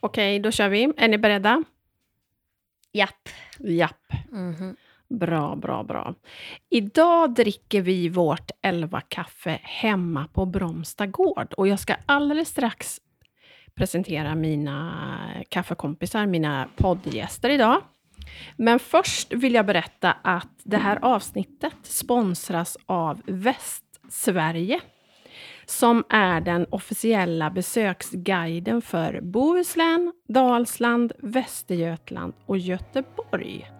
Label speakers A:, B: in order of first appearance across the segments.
A: Okej, då kör vi. Är ni beredda?
B: Japp.
A: Japp.
B: Mhm.
A: Bra, bra, bra. Idag dricker vi vårt 11 kaffe hemma på Bromsta gård. Och jag ska alldeles strax presentera mina kaffekompisar, mina poddgäster idag. Men först vill jag berätta att det här avsnittet sponsras av Västsverige som är den officiella besöksguiden för Bohuslän, Dalsland, Västergötland och Göteborg.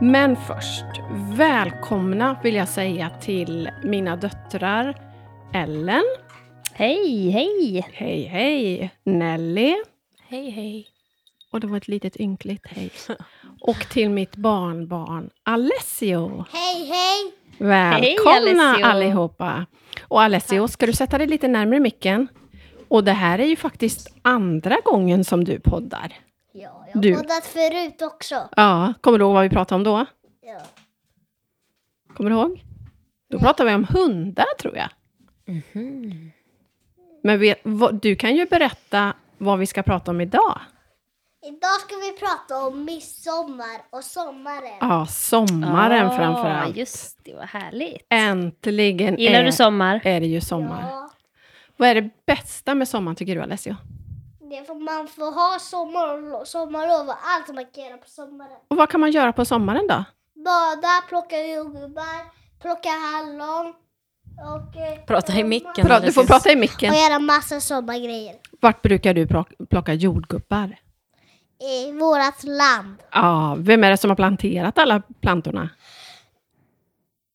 A: Men först, välkomna vill jag säga till mina döttrar Ellen,
B: Hej, hej!
A: hej hej, Nelly
C: Hej, hej.
A: och det var ett litet ynkligt hej. Och till mitt barnbarn Alessio.
D: Hej, hej!
A: Välkomna
B: Alessio.
A: allihopa! Och Alessio, ska du sätta dig lite närmare micken? Och det här är ju faktiskt andra gången som du poddar.
D: Ja, jag har
A: Du.
D: poddat förut också.
A: Ja, kommer du ihåg vad vi pratade om då?
D: Ja.
A: Kommer du ihåg? Då pratade vi om hundar, tror jag.
B: Mhm.
A: Men vet, vad, du kan ju berätta vad vi ska prata om idag.
D: Idag ska vi prata om midsommar och sommaren.
A: Ja, sommaren
B: Ah,
A: framför allt.
B: Just det, vad härligt.
A: Äntligen
B: Gillar
A: är,
B: du sommar?
A: är det ju sommar.
D: Ja,
A: Vad är det bästa med sommaren, tycker du, Alessio?
D: det får man får ha sommar och sommarlov och allt man kan göra på sommaren.
A: Och vad kan man göra på sommaren då?
D: Bada, plocka jordgubbar, plocka hallon och... eh,
C: Prata i
D: och-
C: micken.
A: Pra, du får
C: Alessis.
A: prata i micken.
D: Och göra massa sommargrejer.
A: Vart brukar du plock- plocka jordgubbar?
D: I vårat land.
A: Ja, vem är det som har planterat alla plantorna?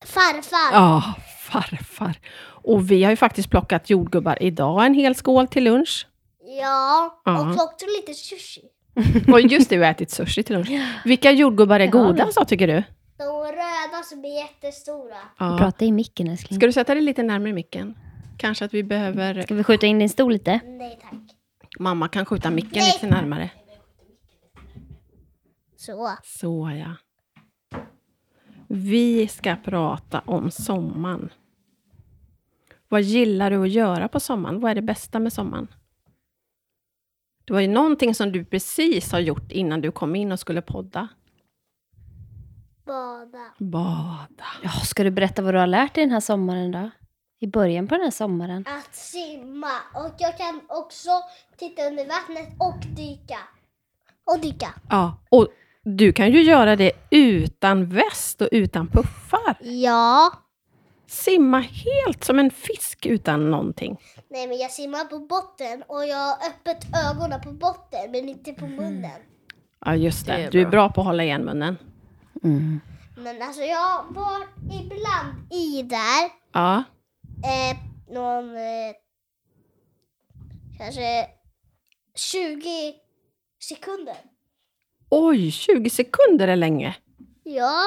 D: Farfar.
A: Ja, farfar. Och vi har ju faktiskt plockat jordgubbar idag, en hel skål till lunch.
D: Ja,
A: Ja.
D: och plockade lite sushi.
A: Och just det, vi har ätit sushi till lunch. Vilka jordgubbar är godast då, tycker du?
D: De röda som är jättestora.
A: Ja.
B: Prata i micken älskling.
A: Ska du sätta dig lite närmare micken? Kanske att vi behöver...
B: Ska vi skjuta in din stol lite?
D: Nej tack.
A: Mamma kan skjuta micken lite närmare.
D: Så.
A: Så ja. Vi ska prata om sommaren. Vad gillar du att göra på sommaren? Vad är det bästa med sommaren? Det var ju någonting som du precis har gjort innan du kom in och skulle podda.
D: Bada.
A: Bada.
B: Ja, ska du berätta vad du har lärt dig den här sommaren då? I början på den här sommaren?
D: Att simma. Och jag kan också titta under vattnet och dyka. Och dyka.
A: Ja, och du kan ju göra det utan väst och utan puffar.
D: Ja.
A: Simma helt som en fisk utan någonting.
D: Nej men jag simmar på botten och jag har öppet ögonen på botten men inte på munnen.
A: Ja, just det.
C: Det är
A: du är
C: bra.
A: bra på att hålla igen munnen.
B: Mm.
D: Men alltså jag var ibland i där.
A: Ja,
D: Eh, någon eh, kanske 20 sekunder.
A: Oj, 20 sekunder är länge.
D: Ja.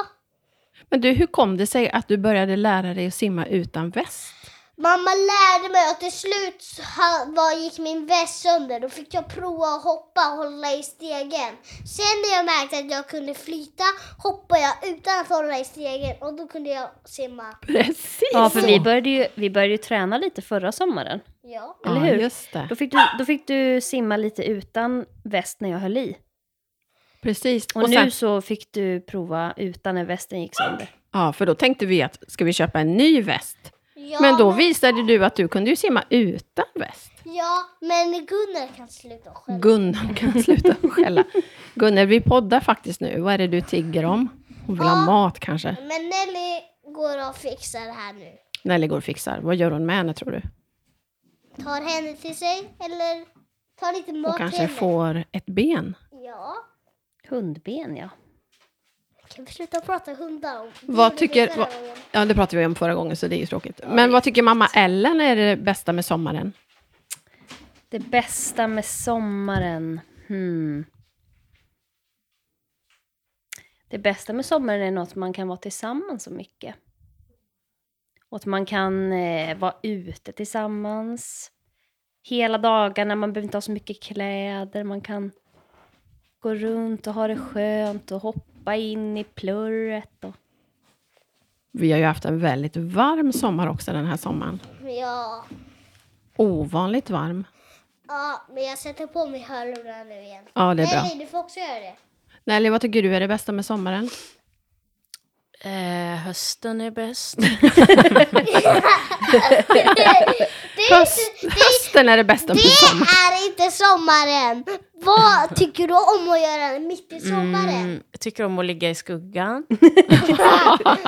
A: Men du, hur kom det sig att du började lära dig att simma utan väst?
D: Mamma lärde mig och till slut så ha- var, gick min väst sönder. Då fick jag prova att hoppa och hålla i stegen. Sen när jag märkte att jag kunde flyta hoppade jag utan att hålla i stegen och då kunde jag simma.
A: Precis
B: Ja, för
A: så.
B: vi började, ju, vi började ju träna lite förra sommaren.
D: Ja.
A: Ja,
B: eller hur?
A: just det.
B: Då fick, du, då fick du simma lite utan väst när jag höll i.
A: Precis.
B: Och,
A: Och
B: nu
A: sen,
B: så fick du prova utan när västen gick sönder.
A: ja, för då tänkte vi att ska vi köpa en ny väst?
D: ja
A: Men då visade du att du kunde ju simma utan väst.
D: Ja, men Gunnar kan sluta själv.
A: Gunnar kan sluta skälla. Gunnar, vi poddar faktiskt nu. Vad är det du tigger om? Hon vill ha
D: Ja.
A: mat kanske.
D: Men Nelly går och fixar det här nu.
A: Nelly går och fixar. Vad gör hon med henne tror du?
D: Tar henne till sig eller tar lite mat
A: Hon kanske
D: till henne.
A: får ett ben.
D: Ja.
B: Hundben, ja.
D: Kan vi sluta prata hundar om?
A: Vad
D: Det är
A: tycker-
D: förra
A: vad-
D: gången.
A: Ja, det pratade vi om förra gången, så det är ju tråkigt. Men vad tycker mamma Ellen är det bästa med sommaren?
B: Det bästa med sommaren. Hmm. Det bästa med sommaren är något man kan vara tillsammans så mycket. Och att man kan eh, vara ute tillsammans. Hela dagarna, man behöver inte ha så mycket kläder. Man kan gå runt och ha det skönt och hoppa in i plurret. Och...
A: Vi har ju haft en väldigt varm sommar också den här sommaren.
D: Ja.
A: Ovanligt varm.
D: ja, men jag sätter på mig hörlurarna nu igen.
A: Ja, det är bra.
D: Nej, du får också göra det.
A: Nelly, vad tycker du är det bästa med sommaren?
C: Eh, hösten är bäst.
D: Det är,
A: Höst,
D: inte,
A: hösten är det bästa med sommaren.
D: det är inte sommaren. Vad tycker du om att göra mitt i sommaren?
C: Mm, jag tycker om att ligga i skuggan.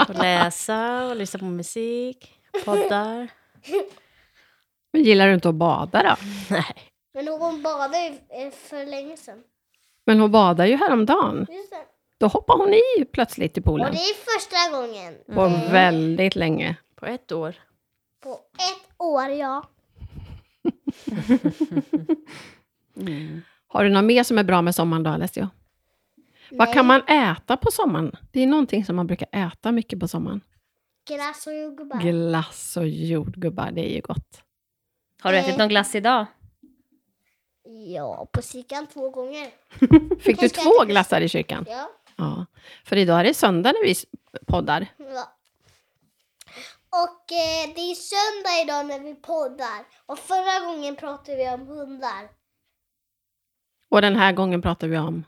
C: och läsa och lyssna på musik. Poddar.
A: Men gillar du inte att bada då?
C: Nej.
D: Men hon badade ju eh, för länge sedan.
A: Men hon badar ju häromdagen.
D: Just det.
A: Då hoppar hon i plötsligt i
D: Och
A: poolen.
D: det är första gången Eh,
A: På väldigt länge.
C: På ett år.
D: på ett år, ja.
A: Har du något mer som är bra med sommaren då, Alessio? Vad kan man äta på sommaren? Det är någonting som man brukar äta mycket på sommaren.
D: Glass och jordgubbar.
A: Glass och jordgubbar, det är ju gott.
B: Har du
D: Eh.
B: ätit någon glass idag?
D: ja, på cirka två gånger.
A: Fick du
D: Jag ska
A: två
D: äta-
A: glassar i kyrkan?
D: Ja.
A: Ja. För idag är det söndag när vi s- poddar.
D: ja. Och eh, det är söndag idag när vi poddar. Och förra gången pratade vi om hundar.
A: Och den här gången pratar vi om...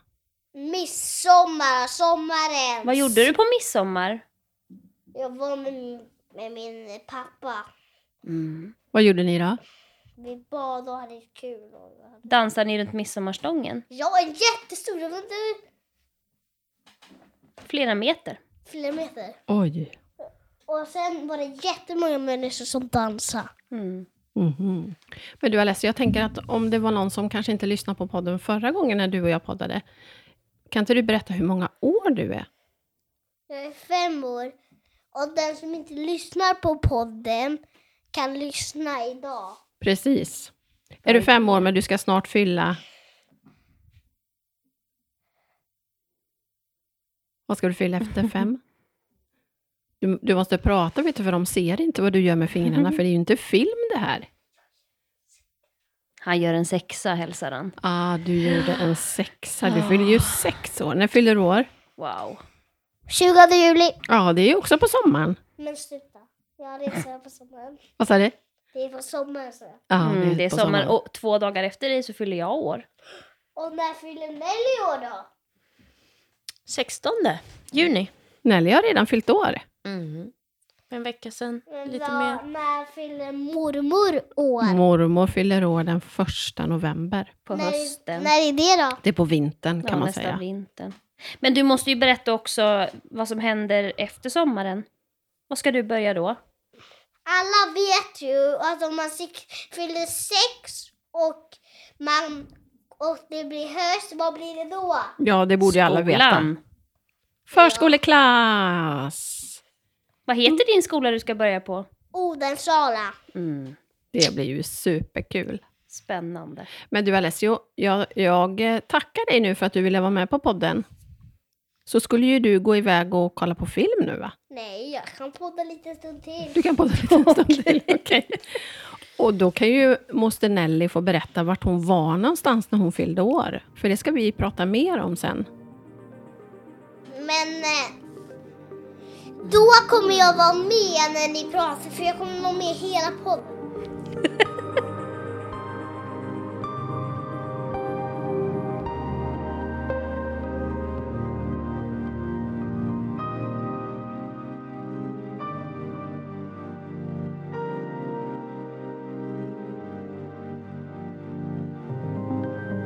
D: Midsommar, sommaren.
B: Vad gjorde du på midsommar?
D: Jag var med, med min pappa. Mm.
A: Vad gjorde ni då?
D: Vi badade och hade kul. Och...
B: Dansade ni runt midsommarstången?
D: Jag är jättestor, jag var inte
B: Flera meter.
D: flera meter.
A: Oj.
D: Och sen var det jättemånga människor som dansade.
B: Mm.
A: Mhm. Men du Alessio, jag tänker att om det var någon som kanske inte lyssnade på podden förra gången när du och jag poddade, kan inte du berätta hur många år du är?
D: Jag är fem år. Och den som inte lyssnar på podden kan lyssna idag.
A: Precis. Är du fem år, men du ska snart fylla... Vad ska du fylla efter fem? Du, du måste prata, vet du, för de ser inte vad du gör med fingrarna, för det är ju inte film det här.
B: Han gör en sexa, hälsar han.
A: Ah, du gjorde en sexa. Du fyller ju sex år. När fyller du år?
B: Wow.
D: 20 juli.
A: Ja, det är ju också på sommaren.
D: Men sluta. Jag reser på sommaren.
A: Vad sa du?
D: Det är på sommaren så. jag.
A: Ja,
B: Mm, det är
A: på
B: sommar. Och två dagar efter dig så fyller jag år.
D: Och när fyller Nelly år då?
C: 16 juni.
A: Nelly har redan fyllt år.
C: Mm. En vecka sedan.
D: Men
C: Lite
D: vad-
C: mer.
D: När fyller mormor år?
A: Mormor fyller år den första november.
B: På
D: när,
B: hösten.
D: När är det då?
A: Det är på vintern, kan
B: ja,
A: man
B: nästa
A: säga.
B: vintern. Men du måste ju berätta också vad som händer efter sommaren. Vad ska du börja då?
D: Alla vet ju att om man sik- fyller sex och, man, och det blir höst, vad blir det då?
A: Ja, det borde ju alla veta.
B: Skolan.
A: Förskoleklass!
B: Vad heter din skola du ska börja på?
D: Odensala.
B: Mm.
A: Det blir ju superkul.
B: Spännande.
A: Men du Alessio, jag, jag eh, tackar dig nu för att du ville vara med på podden. Så skulle ju du gå iväg och kolla på film nu va?
D: Nej, jag kan podda lite stund till.
A: Du kan podda lite en stund till. okej. Och då kan ju moster Nelly få berätta vart hon var någonstans när hon fyllde år. För det ska vi prata mer om sen.
D: Men eh, då kommer jag vara med när ni pratar för jag kommer vara med hela podden.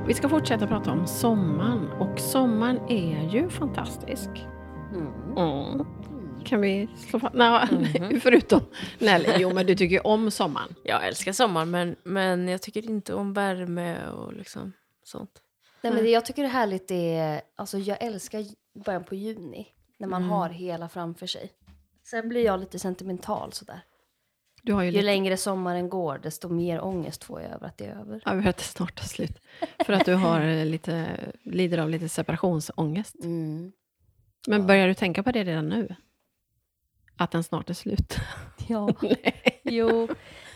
A: Vi ska fortsätta prata om sommaren och sommaren är ju fantastisk. Mm. Kan vi slå fast? Nej,
B: Mm-hmm.
A: förutom Nelly. Jo, men du tycker ju om sommaren.
C: Jag älskar sommar men, men jag tycker inte om värme och liksom sånt.
B: Nej, men det jag tycker det är härligt är, alltså jag älskar ju- början på juni när man har hela framför sig. Sen blir jag lite sentimental sådär.
A: Du har ju
B: Ju
A: lite
B: längre sommaren går desto mer ångest får jag över att det är över.
A: över att det snart tar slut. För att du har eh, lite, lider av lite separationsångest.
B: Mm.
A: Men börjar du tänka på det redan nu? Att den snart är slut?
B: Ja, jo.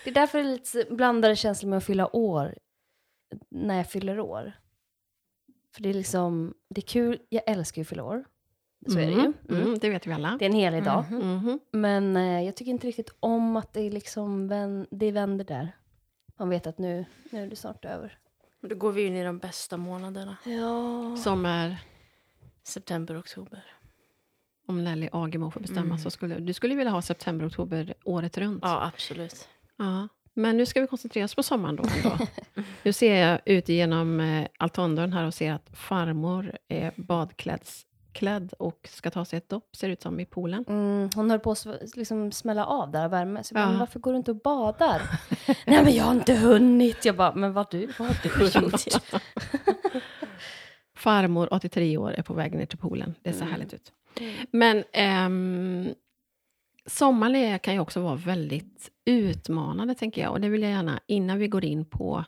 B: Det är därför det är lite blandade känslor med att fylla år när jag fyller år. För det är liksom, det är kul, jag älskar ju att fylla år. Så är det ju.
A: Mm, mm, det vet vi alla.
B: Det är en helig dag.
C: Mm.
A: Mhm.
B: Men eh, jag tycker inte riktigt om att det är liksom vän, det vänder där. Man vet att nu, nu är det snart över.
C: Då går vi in i de bästa månaderna.
B: Ja.
A: Som är,
C: September, oktober.
A: om Nelly Agemo får bestämma,
B: Mm.
A: så skulle du skulle vilja ha september, oktober året runt.
C: Ja, absolut.
A: Ja, men nu ska vi koncentrera oss på sommaren då. ändå. nu ser jag ut genom eh, altandörren här och ser att farmor är badklädd och ska ta sig ett dopp, ser ut som, i poolen.
B: Mm, hon höll på att sv- liksom smälla av där av värme. Så jag bara,
A: Ja.
B: "Men varför går du inte och badar? Nej men jag har inte hunnit. Jag bara, men vad du, vad har du gjort?
A: Farmor, 83 år, är på väg ner till poolen. Det ser härligt ut. Men ehm, sommarledighet kan ju också vara väldigt utmanande, tänker jag. Och det vill jag gärna, innan vi går in på,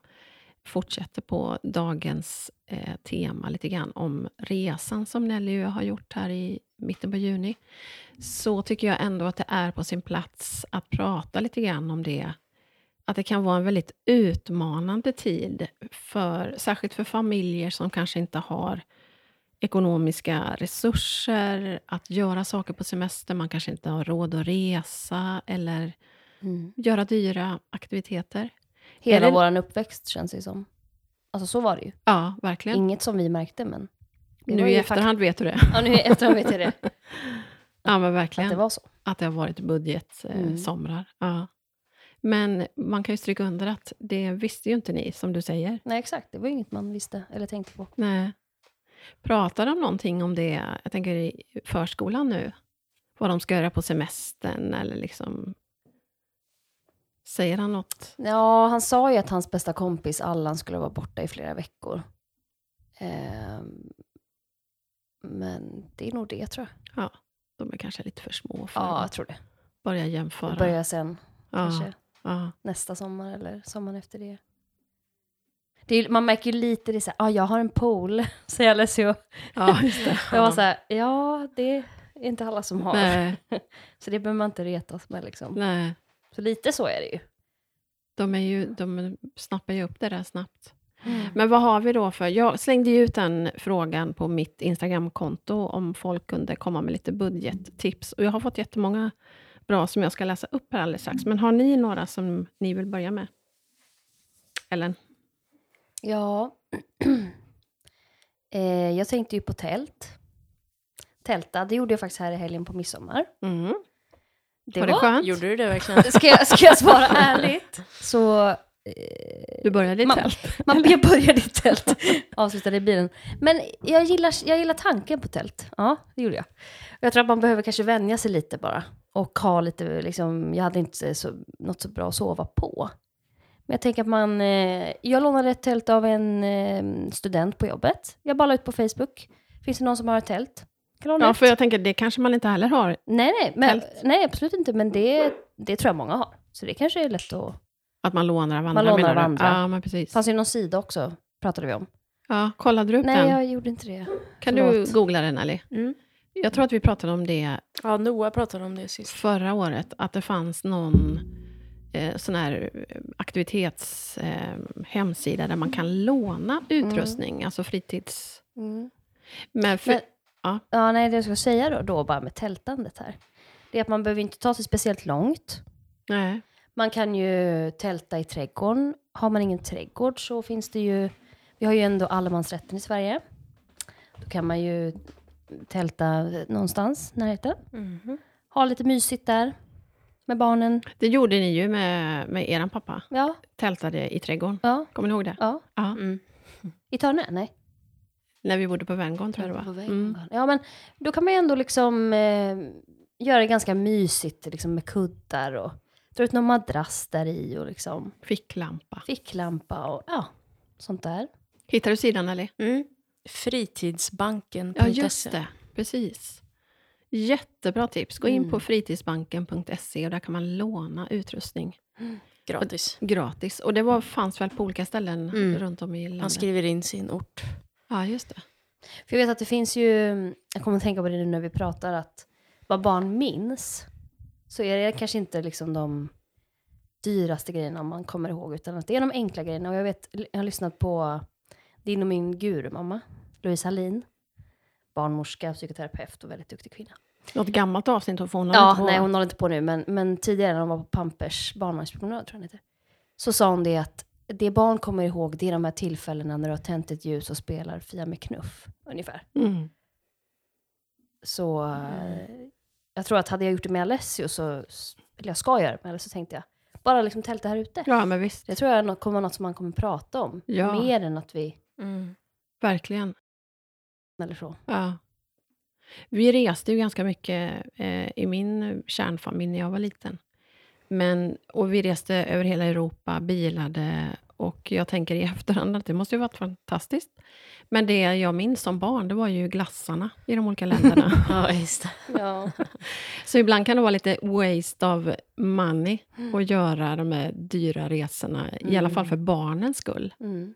A: fortsätter på dagens eh, tema lite grann, om resan som Nelly och jag har gjort här i mitten på juni, så tycker jag ändå att det är på sin plats att prata lite grann om det att det kan vara en väldigt utmanande tid, för, särskilt för familjer som kanske inte har ekonomiska resurser att göra saker på semester. Man kanske inte har råd att resa eller
B: Mm.
A: göra dyra aktiviteter.
B: Hela
A: Är det-
B: våran uppväxt känns det ju som. Alltså så var det ju.
A: Ja, verkligen.
B: Inget som vi märkte men. det var
A: Nu i
B: ju
A: efterhand vet du det.
B: Ja nu i efterhand vet jag det.
A: Ja, men
B: Att
A: verkligen.
B: det var så.
A: att det har varit budgetsomrar. Eh,
B: Mm.
A: somrar. ja. Men man kan ju stryka under att det visste ju inte ni, som du säger.
B: Nej exakt, det var ju inget man visste eller tänkte på.
A: Nej. Pratar de någonting om det, jag tänker i förskolan nu, vad de ska göra på semestern eller liksom... Säger han något?
B: Ja, han sa ju att hans bästa kompis Allan skulle vara borta i flera veckor. Ehm, men det är nog det tror jag.
A: Ja, de är kanske lite för små för
B: Ja, jag
A: att
B: tror det.
A: börja jämföra.
B: Och börja sen,
A: ja,
B: kanske
A: ja,
B: nästa sommar eller sommaren efter det. det är, ju- man märker ju lite det så här, ah, jag har en pool, så jag läser ju.
A: ja, just det.
B: Jag var så här, ja, det är inte alla som har.
A: nej,
B: Så det behöver man inte retas med liksom.
A: nej,
B: Så lite så är det ju.
A: de, är ju, de snappar ju upp det där snabbt.
B: Mm.
A: Men vad har vi då för... Jag slängde ju ut den frågan på mitt Instagramkonto, om folk kunde komma med lite budgettips. Och jag har fått jättemånga bra som jag ska läsa upp här alldeles strax. Men har ni några som ni vill börja med? Ellen?
B: Ja. eh, jag tänkte ju på tält. Tälta, det gjorde jag faktiskt här i helgen på midsommar.
A: Mm.
B: Det
A: var det skönt?
C: Gjorde du det verkligen?
B: Ska jag, ska jag svara ärligt? Så eh,
A: Du började i
B: Man-
A: tält?
B: man, jag började i tält, avslutade i bilen. Men jag gillar, jag gillar tanken på tält. Ja, det gjorde jag. Och Jag tror att man behöver kanske vänja sig lite bara. Och ha lite, liksom, jag hade inte så, något så bra att sova på. Men jag tänker att man, eh, jag lånade ett tält av en eh, student på jobbet. Jag bara la ut på Facebook. Finns det någon som har ett tält? Kan någon ha
A: Ja,
B: ett?
A: för jag tänker, det kanske man inte heller har.
B: Nej, nej, men,
A: Tält.
B: nej, absolut inte. Men det, det tror jag många har. Så det kanske är lätt att...
A: Att man lånar av andra,
B: Man lånar
A: menar
B: av
A: du?
B: andra.
A: Ja, men precis.
B: fanns ju någon sida också, pratade vi om.
A: Ja, kollade du upp
B: Nej,
A: den?
B: jag gjorde inte det.
A: Kan
B: förlåt.
A: du googla den, Nelly?
C: Mm.
A: Jag tror att vi pratade om det
C: Ja, Noah pratade om det sist.
A: förra året, att det fanns någon eh, sån här aktivitetshemsida eh, hemsida där man kan låna utrustning, alltså fritids...
B: Mm.
A: Men för,
B: Men-
A: ja,
B: Ja, nej, det jag ska säga då, då bara med tältandet här. Det är att man behöver inte ta sig speciellt långt.
A: nej.
B: Man kan ju tälta i trädgården. Har man ingen trädgård så finns det ju... Vi har ju ändå allemansrätten i Sverige. Då kan man ju tälta någonstans i närheten. Ha lite mysigt där med barnen.
A: Det gjorde ni ju med, med er pappa,
B: Ja,
A: tältade i trädgården.
B: ja,
A: Kommer ni ihåg det?
B: ja.
A: Ja.
C: Mm.
B: I Törne? Nej.
A: När vi bodde på Värngården, tror jag det var. Mm.
B: Ja, men då kan man ju ändå liksom eh, göra det ganska mysigt liksom, med kuddar och dra ut någon madrass där i och liksom
A: Ficklampa.
B: ficklampa och ja, sånt där.
A: Hittar du sidan, eller?
C: Mm. Fritidsbanken.se.
A: Ja, just det. Precis. Jättebra tips. Gå in på
C: Mm.
A: fritidsbanken.se E och där kan man låna utrustning
C: Gratis.
A: gratis. Och det var, fanns väl på olika ställen
C: Mm.
A: runt om i landet?
C: Man skriver in sin ort.
A: Ja, just det.
B: För jag vet att det finns ju, jag kommer att tänka på det nu när vi pratar, att vad barn minns så är det kanske inte liksom de dyraste grejerna man kommer ihåg, utan att det är de enkla grejerna. Och jag vet, jag har lyssnat på din och min gurumamma, Louise Hallin, barnmorska, psykoterapeut och väldigt duktig kvinna.
A: Något gammalt avsnitt hon får hon
B: Ja,
A: inte på.
B: nej hon håller inte på nu, men, men tidigare när hon var på Pampers barnvagnspromenad, tror jag den heter, så sa hon det att det barn kommer ihåg, det är de här tillfällena när du har tänt ett ljus och spelar Fia med knuff, ungefär.
A: Mm.
B: Så eh, jag tror att hade jag gjort det med Alessio, så, eller jag ska göra det med Alessio, tänkte jag, bara liksom tälta här ute.
A: Ja, men visst.
B: Det tror jag är nå- kommer vara något som man kommer prata om,
A: Ja.
B: mer än att vi,
C: Mm.
A: Verkligen.
B: eller så.
A: Ja. Vi reste ju ganska mycket eh, i min kärnfamilj när jag var liten. Men, och vi reste över hela Europa, bilade och jag tänker i efterhand att det måste ju varit fantastiskt. Men det jag minns som barn, det var ju glassarna i de olika länderna.
C: Ja, just det.
B: Ja.
A: Så ibland kan det vara lite waste of money att göra de här dyra resorna, i alla fall för barnens skull.
B: Mm.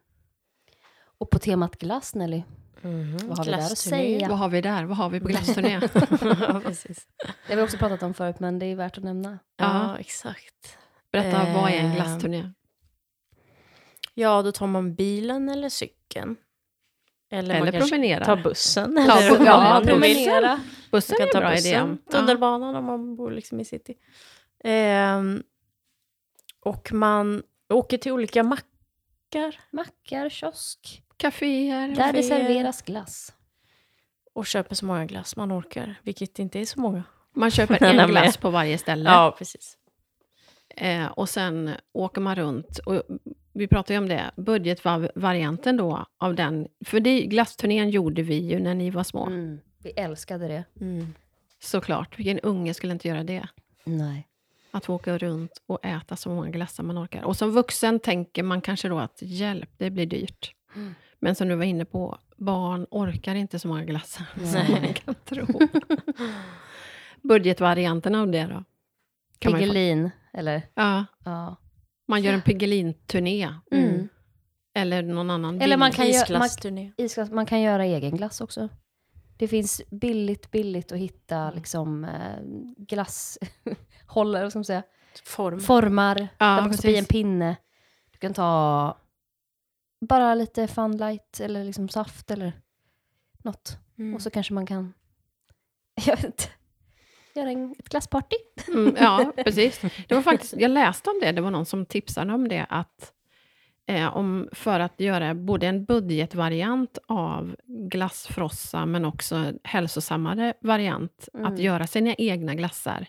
B: Och på temat glass, Nelly,
C: Mm-hmm.
B: vad har vi där att
C: Glassturné.
B: säga?
A: Vad har vi där? Vad har vi på glassturné?
C: ja, precis.
B: Det har vi också pratat om förut, men det är värt att nämna.
A: Ja.
C: Ja, exakt.
A: Berätta, vad är en
C: Eh,
A: glassturné?
C: Ja, då tar man bilen eller cykeln. Eller,
A: Eller
C: man kanske
A: promenera.
C: tar bussen.
A: Ja,
C: eller
A: bu-
C: vad
A: ja,
C: man nu vill.
B: promenera.
A: Bussen
C: Man
A: är en
C: kan ta
A: bra idé.
C: bussen,
A: Ja.
C: tunnelbanan om man bor liksom i city. Ehm, och man åker till olika mackar
B: Mackar, kiosk,
A: Caféer.
B: där det
C: Caféer.
B: serveras glass.
C: och köper så många glass man orkar, vilket inte är så många.
A: Man köper
C: Den är
A: en
C: med.
A: glass på varje ställe.
C: Ja, precis.
A: Eh, och sen åker man runt. Och vi pratade ju om det, budgetvarianten då av den. För det, glassturnén gjorde vi ju när ni var små.
B: Mm. Vi älskade det.
A: Såklart, vilken unge skulle inte göra det?
B: Nej.
A: Att få åka runt och äta så många glassar man orkar. Och som vuxen tänker man kanske då att hjälp, det blir dyrt.
B: Mm.
A: Men som du var inne på, barn orkar inte så många glassar
B: Nej.
A: som man kan tro. Budgetvarianten av det då? Kan man ju få-
B: Piggelin, eller?
A: Ja,
B: Ja.
A: man gör en Piggelin-turné.
B: Mm.
A: Eller någon annan
B: Eller man
A: bild.
B: kan ju-
C: Isglassturné.
B: Isglass, man kan göra egen glass också. Det finns billigt, billigt att hitta liksom eh, glasshållare, vad ska man säga.
C: Form.
B: Formar,
A: Ja,
B: där man kan stoppa i en
A: precis.
B: pinne. Du kan ta bara lite funlight eller liksom saft eller något.
C: Mm.
B: Och så kanske man kan, jag vet inte, göra en, ett glassparty.
A: Mm, ja, precis. Det var faktiskt, jag läste om det, det var någon som tipsade om det, att eh, om, för att göra både en budgetvariant av glassfrossa, men också en hälsosammare variant,
B: Mm.
A: att göra sina egna glassar.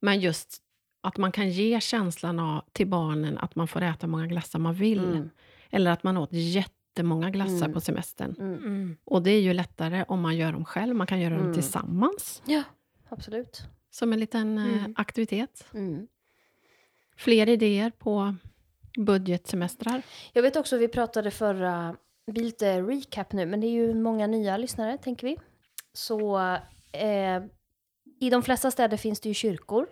A: Men just att man kan ge känslan av, till barnen att man får äta många glassar man vill.
B: Mm.
A: Eller att man åt jättemånga glassar
B: Mm.
A: på semestern.
B: Mm.
C: Mm.
A: Och det är ju lättare om man gör dem själv, man kan göra
B: Mm.
A: dem tillsammans.
B: Ja, absolut.
A: Som en liten eh,
C: Mm.
A: aktivitet.
B: Mm.
A: fler idéer på budgetsemestrar.
B: Jag vet också, vi pratade förra, det blir lite recap nu, men det är ju många nya lyssnare, tänker vi. Så eh, i de flesta städer finns det ju kyrkor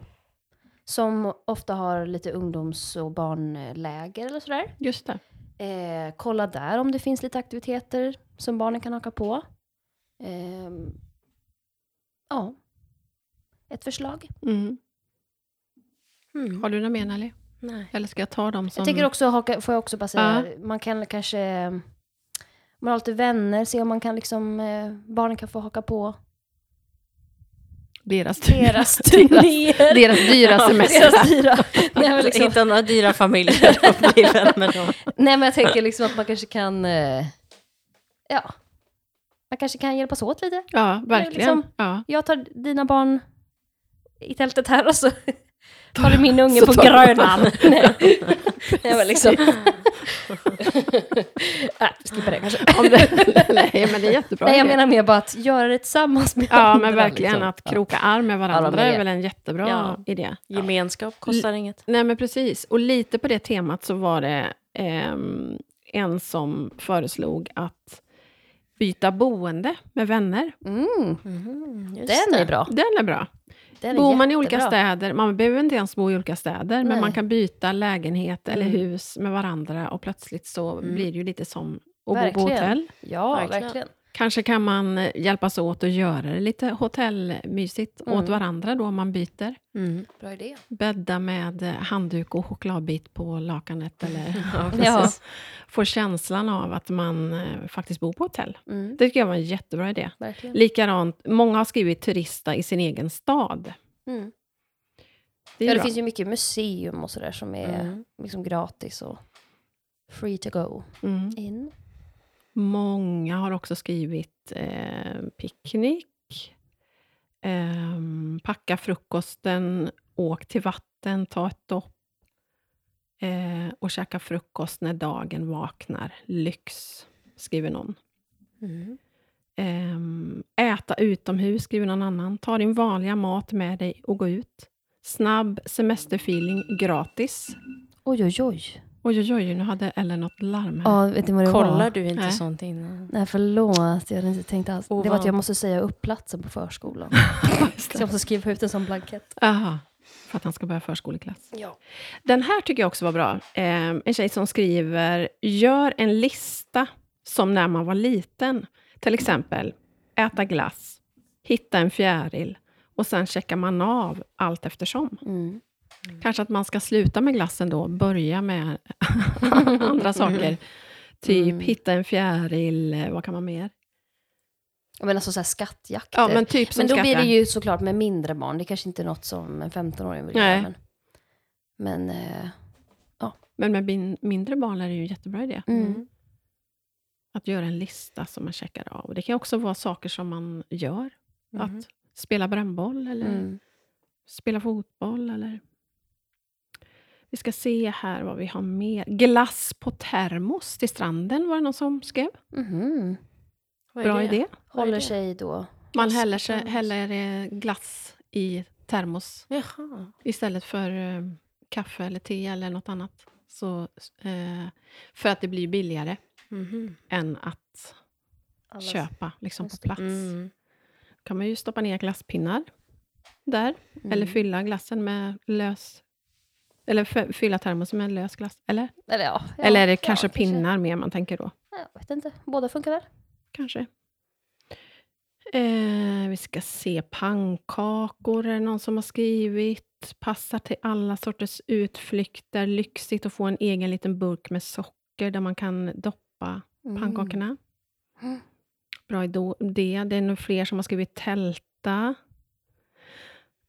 B: som ofta har lite ungdoms och barnläger eller sådär.
A: Just det.
B: Eh, kolla där om det finns lite aktiviteter som barnen kan haka på. Ehm, ja, ett förslag.
C: Mm.
A: Har du några mer Nelly?
C: Nej.
A: Eller ska jag ta dem som...
B: Jag tänker också, haka- får jag också bara säga, man kan kanske, om man har lite vänner, se om man kan liksom, eh, barnen kan få haka på
A: Deras dyra,
B: deras turnéer.
A: deras dyra semester.
B: Deras dyra. Nej, men liksom,
C: Hitta några dyra familjer och bli vän med dem.
B: nej men jag tänker liksom att man kanske kan, eh, ja, man kanske kan hjälpas åt lite.
A: Ja, verkligen.
B: liksom-
A: ja.
B: Jag tar dina barn i tältet här och så tar du min unge
A: så
B: på
A: tar du-
B: Grönland. nej. nej men liksom. nej, skippa det kanske.
A: Om det, nej, men det är jättebra.
B: Nej, jag
A: idé.
B: menar mer bara att göra det tillsammans med
A: ja,
B: andra,
A: men verkligen.
B: liksom.
A: Att kroka arm med
B: Ja,
A: varandra
B: men det-
A: är väl en jättebra
C: Ja.
A: idé.
C: Gemenskap kostar inget.
A: Nej, men precis. Och lite på det temat så var det ehm, en som föreslog att byta boende med vänner.
B: Mm,
C: Mm, just
B: den
C: det.
B: är bra.
A: Den är bra.
B: Den är
A: Bor man i olika
B: jättebra.
A: städer, man behöver inte ens bo i olika städer, men
B: Nej.
A: man kan byta lägenhet eller
B: Mm.
A: hus med varandra och plötsligt så
B: Mm.
A: blir det ju lite som att bo på
B: Verkligen.
A: hotell.
B: Ja,
C: Verkligen.
B: verkligen.
A: Kanske kan man eh, hjälpas åt att göra det lite hotellmysigt
B: Mm.
A: åt varandra då om man byter.
C: Mm.
B: Bra idé.
A: Bädda med eh, handduk och chokladbit på lakanet eller
C: Ja,
B: Ja.
C: precis.
A: få känslan av att man eh, faktiskt bor på hotell.
B: Mm,
A: Det tycker jag var en jättebra idé.
B: verkligen.
A: Likadant, många har skrivit turista i sin egen stad.
B: Mm.
A: Det är
B: Ja, det
A: bra.
B: finns ju mycket museum och sådär som är
C: Mm.
B: liksom gratis och free to go
A: Mm.
B: in.
A: Många har också skrivit eh, picknick, ehm, packa frukosten, åk till vatten, ta ett dopp eh, och käka frukost när dagen vaknar. Lyx, skriver någon.
C: Mm.
A: Ehm, äta utomhus, skriver någon annan. Ta din vanliga mat med dig och gå ut. Snabb semesterfeeling, gratis.
B: Oj, oj, oj.
A: Oj, oj, oj, nu hade Ellen något larm här.
B: Ja, vet ni vad det var?
C: Kollar du inte
A: Nej.
C: sånt innan?
B: Nej, förlåt. Jag hade inte tänkt alls. Det var
C: Ovan.
B: att jag måste säga upp platsen på förskolan. så jag måste skriva ut en sån blankett.
A: Aha, för att han ska börja förskoleklass.
B: Ja.
A: Den här tycker jag också var bra. Eh, en tjej som skriver, gör en lista som när man var liten. Till exempel, äta glass, hitta en fjäril och sen checkar man av allt eftersom.
B: Mm.
A: Kanske att man ska sluta med glassen då, börja med andra saker. Typ
B: Mm.
A: hitta en fjäril, eh, vad kan man mer?
B: Ja, Men alltså så här skattjakter.
A: Ja, men typ som
B: men då blir det
A: skattar.
B: ju såklart med mindre barn. Det kanske inte är något som en 15-åring vill
A: Nej.
B: göra. Men, men eh,
A: Men med bin- mindre barn är det ju en jättebra idé.
B: mm.
A: Att göra en lista som man checkar av. Det kan också vara saker som man gör.
C: Mhm.
A: Att spela brännboll eller
B: Mm.
A: spela fotboll. Eller... Vi ska se här vad vi har mer. Glass på termos till stranden var det någon som skrev.
B: Mhm.
C: Vad är
A: Bra
C: det?
A: idé.
C: Vad är
B: Håller
C: det?
B: sig då.
A: Man
C: Glass på
A: häller, sig,
C: termos.
A: häller eh, glass i termos
C: Jaha.
A: istället för eh, kaffe eller te eller något annat. Så, eh, för att det blir billigare
C: Mhm.
A: än att
B: alla-
A: köpa liksom, på
B: Just det.
A: plats.
C: Mm.
A: kan man ju stoppa ner glasspinnar där.
B: Mm.
A: Eller fylla glassen med lös... Eller fö- fylla termosen med lös glass. Eller?
B: Eller, ja, ja,
A: eller är det
B: ja,
A: kanske pinnar mer man tänker då?
B: Ja, Jag vet inte. Båda funkar väl?
A: Kanske. Eh, vi ska se. Pannkakor är det någon som har skrivit. Passar till alla sorters utflykter. Lyxigt att få en egen liten burk med socker där man kan doppa
B: Mm.
A: pannkakorna.
B: Mm.
A: Bra idé. Det är nog fler som har skrivit tälta.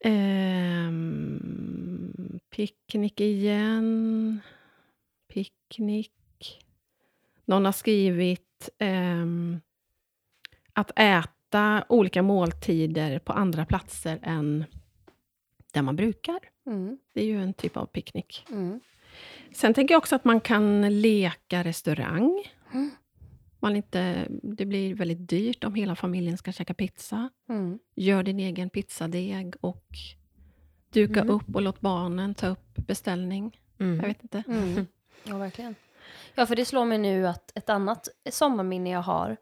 A: Ehm, picknick igen. Picknick. Någon har skrivit ehm, att äta olika måltider på andra platser än där man brukar.
B: Mm.
A: Det är ju en typ av picknick.
B: Mm.
A: Sen tänker jag också att man kan leka restaurang.
B: Mm.
A: Man inte, det blir väldigt dyrt om hela familjen ska käka pizza.
B: Mm.
A: Gör din egen pizzadeg och duka
C: Mhm.
A: upp och låt barnen ta upp beställning. Jag vet inte.
B: Mm. Mm. Ja, verkligen. Ja, för det slår mig nu att ett annat sommarminne jag har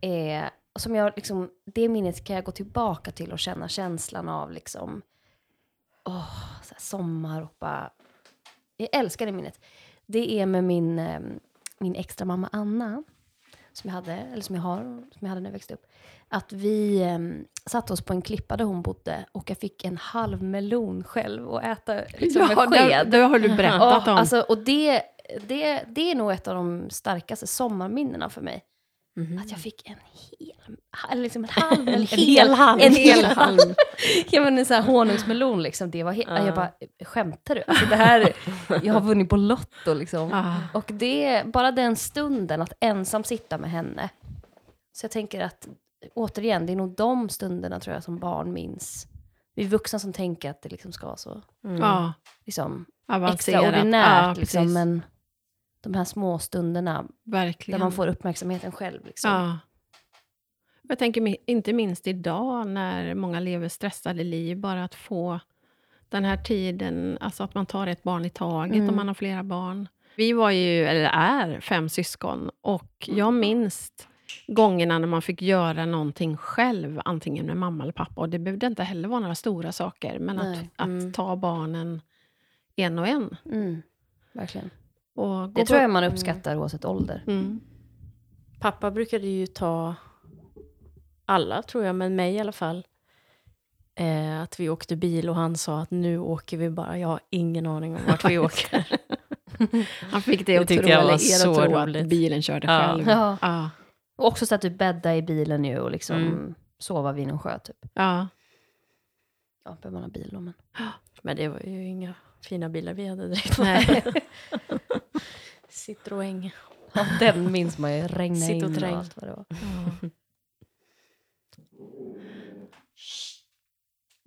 B: är som jag liksom, det minnet kan jag gå tillbaka till och känna känslan av liksom, åh, så här sommar och bara, jag älskar det minnet. Det är med min, eh, min extra mamma Anna, som jag hade, eller som jag har, som jag hade när jag växte upp. Att vi eh, satte oss på en klippa där hon bodde och jag fick en halv melon själv och äta liksom, med
A: Ja, det,
B: sked.
A: det har du berättat
B: Ja,
A: om.
B: Alltså, och det, det, det är nog ett av de starkaste sommarminnena för mig.
C: Mhm.
B: Att jag fick en hel, eller liksom en halv, en,
C: En hel halm.
B: En hel halm. ja men en sån här honungsmelon liksom. Det var he-
C: Ja.
B: Jag bara, skämtar du? Alltså det här, jag har vunnit på Lotto liksom.
A: Ah.
B: Och det, bara den stunden att ensam sitta med henne. Så jag tänker att, återigen, det är nog de stunderna tror jag som barn minns. Vi är vuxna som tänker att det liksom ska vara så,
C: Mm.
A: Ja,
B: liksom,
A: avancerat.
B: extraordinärt.
A: Ja,
B: liksom,
A: precis.
B: men de här små stunderna
A: Verkligen.
B: där man får uppmärksamheten själv. Liksom.
A: ja. Jag tänker mi- inte minst idag när många lever stressade liv, bara att få den här tiden, alltså att man tar ett barn i taget
B: Mm.
A: om man har flera barn. Vi var ju, eller är, fem syskon och
B: Mm.
A: jag minns gångerna när man fick göra någonting själv, antingen med mamma eller pappa. Och det behövde inte heller vara några stora saker, men att,
B: Nej,
C: mm.
A: att ta barnen en och en.
B: Mm, verkligen.
A: Och gå
B: Det tror
A: på-
B: jag man uppskattar oavsett ålder.
A: Mm.
C: Pappa brukade ju ta alla, tror jag, men mig i alla fall. Eh, att vi åkte bil och han sa att nu åker vi bara. Jag har ingen aning om vart vi åker.
A: Han fick det
C: Det
A: att tro, eller
C: tyckte jag
A: er
C: var
A: att
C: så
A: tro att
C: roligt.
A: bilen körde
C: Ja.
A: själv.
B: Ja.
A: Ja.
B: Och också så att du bäddar i bilen ju och liksom
C: Mm.
B: sova vid någon sjö typ.
A: Ja.
B: Ja, behöver man ha bil då men.
C: Men det var ju inga fina bilar vi hade direkt.
A: Nej.
C: Citroën.
B: Ja, den minns man ju. Regna
C: Sitt
B: in
C: och
B: och,
C: träng.
B: allt vad det var.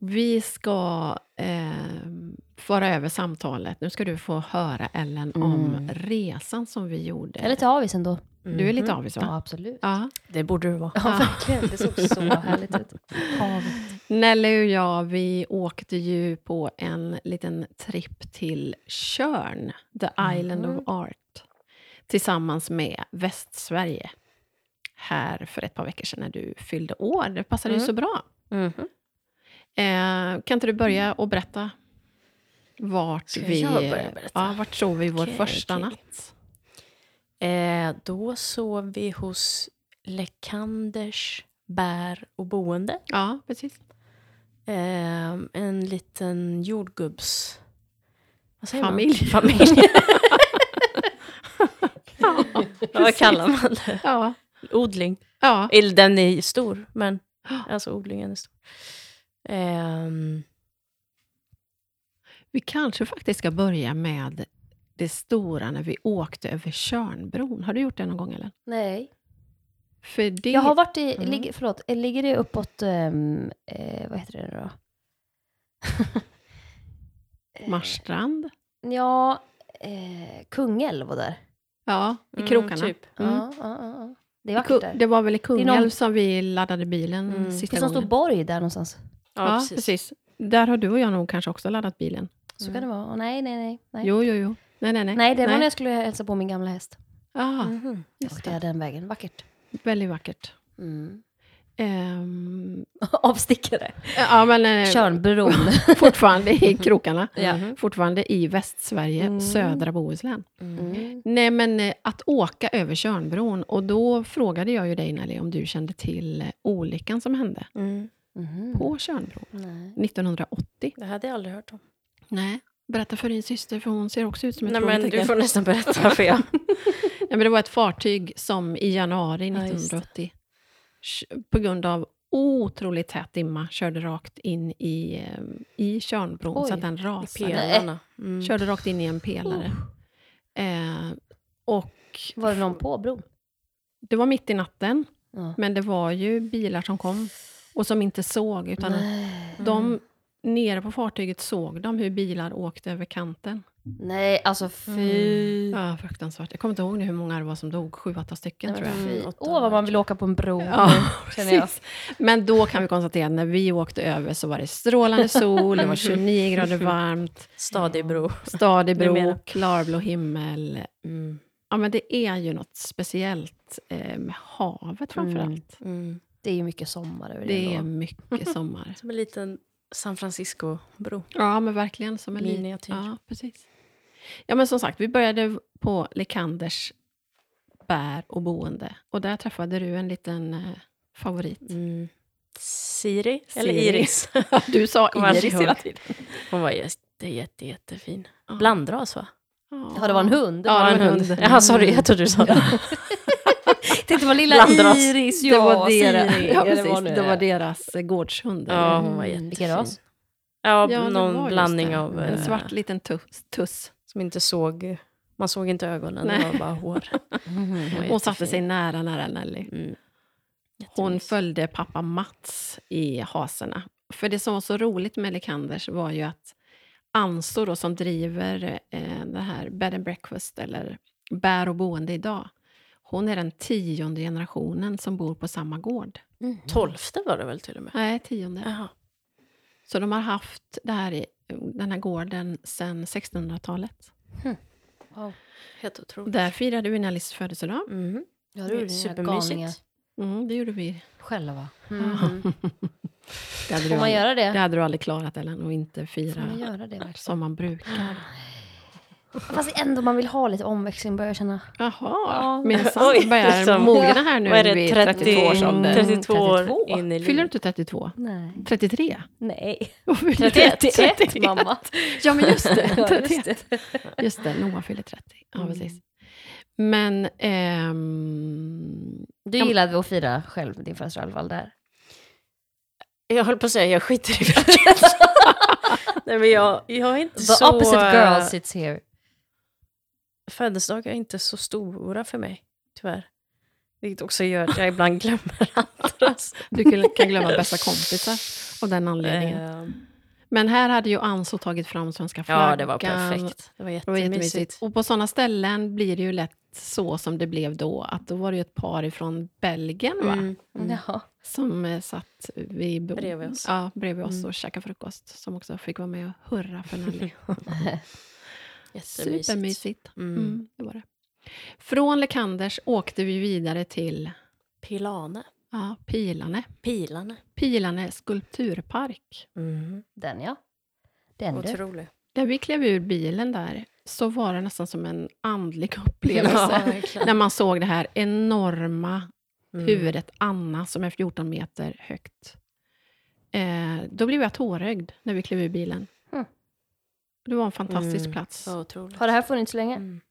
A: Vi ska eh, föra över samtalet. Nu ska du få höra, Ellen, om
B: Mm.
A: resan som vi gjorde.
B: Eller till avis ändå.
A: Du är
C: Mhm.
A: lite avis, va?
B: Ja, absolut.
A: Ja.
C: Det borde du vara.
B: Ja, verkligen. Det såg så härligt ut.
A: Nelly och jag, vi åkte ju på en liten tripp till Tjörn, the
C: Mm.
A: island of art, tillsammans med Västsverige här för ett par veckor sedan när du fyllde år. Det passade
C: Mm.
A: ju så bra.
C: Mhm.
A: Eh, kan inte du börja och berätta vart
C: Mm. Ska
A: vi...
C: jag börja berätta?
A: Ja, vart sov vi vår
C: Okej,
A: första
C: okej.
A: natt?
C: Eh, då sov vi hos Lekanders bär och boende.
A: Ja, precis.
C: Eh, en liten jordgubbs... Vad säger
A: Familj.
C: Man? Familj. ja, vad kallar man det?
A: Ja.
C: Odling.
A: Ja.
C: Eller den är stor, men
A: Ja.
C: alltså odlingen är stor. Ehm,
A: Vi kanske faktiskt ska börja med det stora när vi åkte över Tjörnbron. Har du gjort det någon gång, eller?
B: Nej.
A: För det...
B: Jag har varit i,
C: Mm.
B: ligger, förlåt, eh, ligger det uppåt, ehm, eh, vad heter det nu då? Eh,
A: Marstrand.
B: Ja, eh, Kungälv och där.
A: Ja, i
C: mm,
A: krokarna.
C: Typ.
A: Mm.
B: Ja, ja, ja, ja. Det är
A: Ku-
B: vackert där.
A: Det var väl i
B: någon-
A: Kungälv som vi laddade bilen
C: Mm.
B: Det
A: sista
B: är som stor
A: gången.
B: borg där någonstans.
C: Ja,
A: ja,
C: precis.
A: precis. Där har du och jag nog kanske också laddat bilen.
B: Så
C: Mm.
B: kan det vara. Åh, nej, nej, nej. Nej,
A: Jo, jo, jo. Nej, nej, nej.
B: nej det var när jag Mm. skulle hälsa på min gamla häst.
A: Ah,
C: Mhm.
A: just
B: det är den vägen. Vackert.
A: det. Väldigt vackert.
B: Mm.
A: Ehm,
B: Avstickare.
A: ja, men eh,
B: Tjörnbron.
A: fortfarande i krokarna.
C: Mhm.
A: Fortfarande i Västsverige,
B: Mm.
A: södra Bohuslän.
C: Mm.
B: Mm.
A: Nej, men eh, att åka över Tjörnbron. Och då frågade jag ju dig, Nelly, om du kände till eh, olyckan som hände
C: Mm.
B: Mhm.
A: på Tjörnbron
B: Nej.
A: 1980.
C: Det hade jag aldrig hört om.
A: Nej. Berätta för din syster, för hon ser också ut som ett
C: Nej, men du
A: frågetecken.
C: får nästan berätta för jag.
A: Nej, men det var ett fartyg som i januari
C: Ja, just det.
A: 1980 kö- på grund av otroligt tät dimma körde rakt in i, eh, i Tjörnbron
B: Oj,
A: så att den
C: I
A: rasade.
C: pelarna. Mm.
A: Körde rakt in i en pelare. Eh, och
B: Var det någon på bron?
A: det var mitt i natten,
B: Ja.
A: men det var ju bilar som kom och som inte såg. Utan att
B: Nej. Mm.
A: de nere på fartyget såg de hur bilar åkte över kanten.
B: Nej, alltså
C: Mm.
B: fy.
A: Ja, fruktansvärt. Jag kommer inte ihåg nu hur många det var som dog, sju, åtta stycken tror jag.
C: Mm,
B: Fy.
C: åtta
B: Åh, vad man vill åka på en bro.
A: Ja,
B: Mm. känner jag.
A: precis. Men då kan vi konstatera att när vi åkte över så var det strålande sol, det var 29 grader varmt,
C: Stadig bro.
A: stadig bro,
C: Numera.
A: klarblå himmel.
C: Mm.
A: Ja, men det är ju något speciellt eh, med havet framför
B: Mm.
A: allt.
C: Mm.
B: Det är ju mycket sommar över det,
A: Det är
B: ändå.
A: mycket sommar.
C: Som en liten San Francisco-bro. typ.
A: Ja, men verkligen som en liten...
C: Miniatyr.
A: Ja, precis. Ja, men som sagt, vi började på Lekanders bär och boende. Och där träffade du en liten eh, favorit.
C: Mm. Siri, eller
A: Siri.
C: Iris.
A: Du sa
C: Kommer aldrig
A: Iris hela
C: ihåg.
A: tiden.
C: Hon var jätte, jätte, jättefin.
A: Ja.
C: Blandras va?
B: Ja, det var en hund.
A: Ja,
B: var
A: en hund.
C: Ja, sorry, jag trodde du sa det.
B: Tänkte det var lilla
C: Blandras.
B: Iris,
A: det
B: ja,
A: var, deras,
B: Siri.
A: ja,
B: Ja,
A: precis,
B: nu
A: det var deras eh, gårdshund. eller?
C: Ja, hon var
B: Mm.
C: jättefin.
B: Vilken ras?
C: Ja,
A: Ja, det var
C: någon
A: just
C: blandning
A: det.
C: av...
A: En
C: eh,
A: svart liten tuss. tuss.
C: Som inte såg... Man såg inte ögonen,
A: Nej.
C: det var bara hår.
B: Mm-hmm.
C: var
A: Hon satte
C: jättefin.
A: sig nära, nära Nelly.
C: Mm.
A: Hon
C: Jättemys.
A: följde pappa Mats i haserna. För det som var så roligt med Lekanders var ju att Anso då, som driver eh, det här bed and breakfast, eller bär och boende idag, hon är den tionde generationen som bor på samma gård.
B: Mm.
C: Tolfte var det väl till och med?
A: Nej, tionde.
C: Jaha.
A: Så de har haft det här i, den här gården sedan 1600-talet.
B: Hmm. Wow.
C: Helt otroligt.
A: Där firade vi Nellies födelsedag.
C: Mm.
B: Ja,
C: Det är supermysigt.
A: Mm, det gjorde vi.
B: Själva.
A: Det hade, du
B: Mm-hmm. Får man
A: aldrig,
B: göra det?
A: det hade du aldrig klarat, Ellen, och inte
B: Får man
A: fira
B: göra det verkligen?
A: som man brukar.
B: Fast ändå man vill ha lite omväxling börjar jag känna.
A: Jaha,
B: Ja.
A: minsann
C: Oj,
A: börjar
C: som-
A: mogna här nu
C: Vad är det,
A: vid
C: 30
A: 32 års ålder.
C: 32 år
A: 32.
C: in i livet.
A: Fyller du inte 32?
B: Nej.
A: 33?
B: Nej.
A: Och fyller
B: 31,
A: 31.
B: mamma.
A: Ja, men just det.
B: Ja,
A: 31.
B: just det.
A: Just det, Noah fyller 30. Ja,
C: Mm.
A: precis. Men... ehm,
B: Du gillade att fira själv din födelsedag i alla fall där.
C: Jag höll på att säga, jag skiter i vilket. Nej men jag, jag är inte
B: The
C: så... eh,
B: opposite girl sits here.
C: Födelsedagar är inte så stora för mig, tyvärr. Vilket också gör att jag ibland glömmer andras.
A: du kan- kan glömma bästa kompisar av den anledningen.
C: Ehm,
A: Men här hade ju Anso tagit fram svenska flaggan.
C: ja, det var perfekt. Det var
A: Det var
C: jättemysigt.
A: jättemysigt. Och på sådana ställen blir det ju lätt så som det blev då, att då var det ju ett par ifrån Belgien va?
C: Mm.
B: Mm. Jaha.
A: som eh, satt vid bo-
C: Bredvid oss.
A: Ja, bredvid oss
C: Mm.
A: och käkade frukost, som också fick vara med och hurra för Nelly.
C: Jättemysigt.
A: Supermysigt.
C: Mm.
A: Mm, det var det. Från Lekanders åkte vi vidare till
C: Pilane.
A: ja, Pilane.
C: Pilane.
A: Pilane skulpturpark.
C: Mm.
B: Den ja. Den du.
C: Otrolig.
A: Där vi klev ur bilen där, så var det nästan som en andlig
C: Ja,
A: upplevelse.
C: verkligen.
A: När man såg det här enorma
C: Mm.
A: huvudet Anna som är 14 meter högt. Eh, då blev jag tårögd när vi klev ur bilen.
B: Mm.
A: Det var en fantastisk
C: Mm.
A: plats.
C: Så otroligt.
B: Har det här funnits länge?
C: Mm.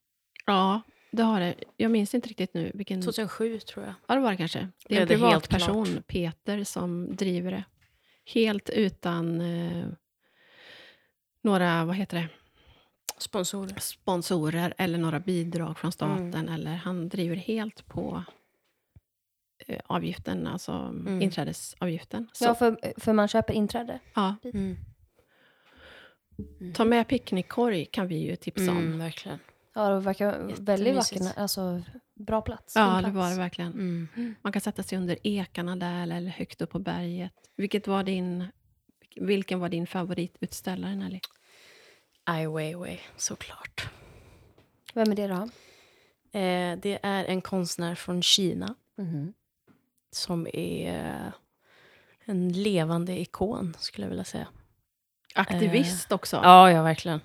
A: Ja, det har det. Jag minns inte riktigt nu vilken...
C: 2007 tror jag.
A: Ja, det var det kanske. Det är
C: Ja,
A: en
C: det är helt
A: privatperson, Peter, som driver det. Helt utan eh, några, vad heter det,
C: Sponsorer.
A: sponsorer eller några bidrag från staten.
C: Mm.
A: Eller han driver helt på eh, avgiften, alltså
C: Mm.
A: inträdesavgiften. Så,
B: Ja, för, för man köper inträde.
A: ja.
C: Mm.
A: Ta med picknickkorg kan vi ju tipsa om.
C: Mm, verkligen.
B: Ja, det verkar väldigt
C: Jättemysigt.
B: vacker, alltså bra plats. fin
A: Ja, det
B: plats.
A: var det verkligen.
C: Mm.
A: Man kan sätta sig under ekarna där eller högt upp på berget. Vilket var din, vilken var din favoritutställare, Nelly?
C: Ai Weiwei, såklart.
B: Vem är det då?
C: Eh, det är en konstnär från Kina
B: Mhm.
C: som är eh, en levande ikon, skulle jag vilja säga.
A: Aktivist också.
C: Ja, ja verkligen.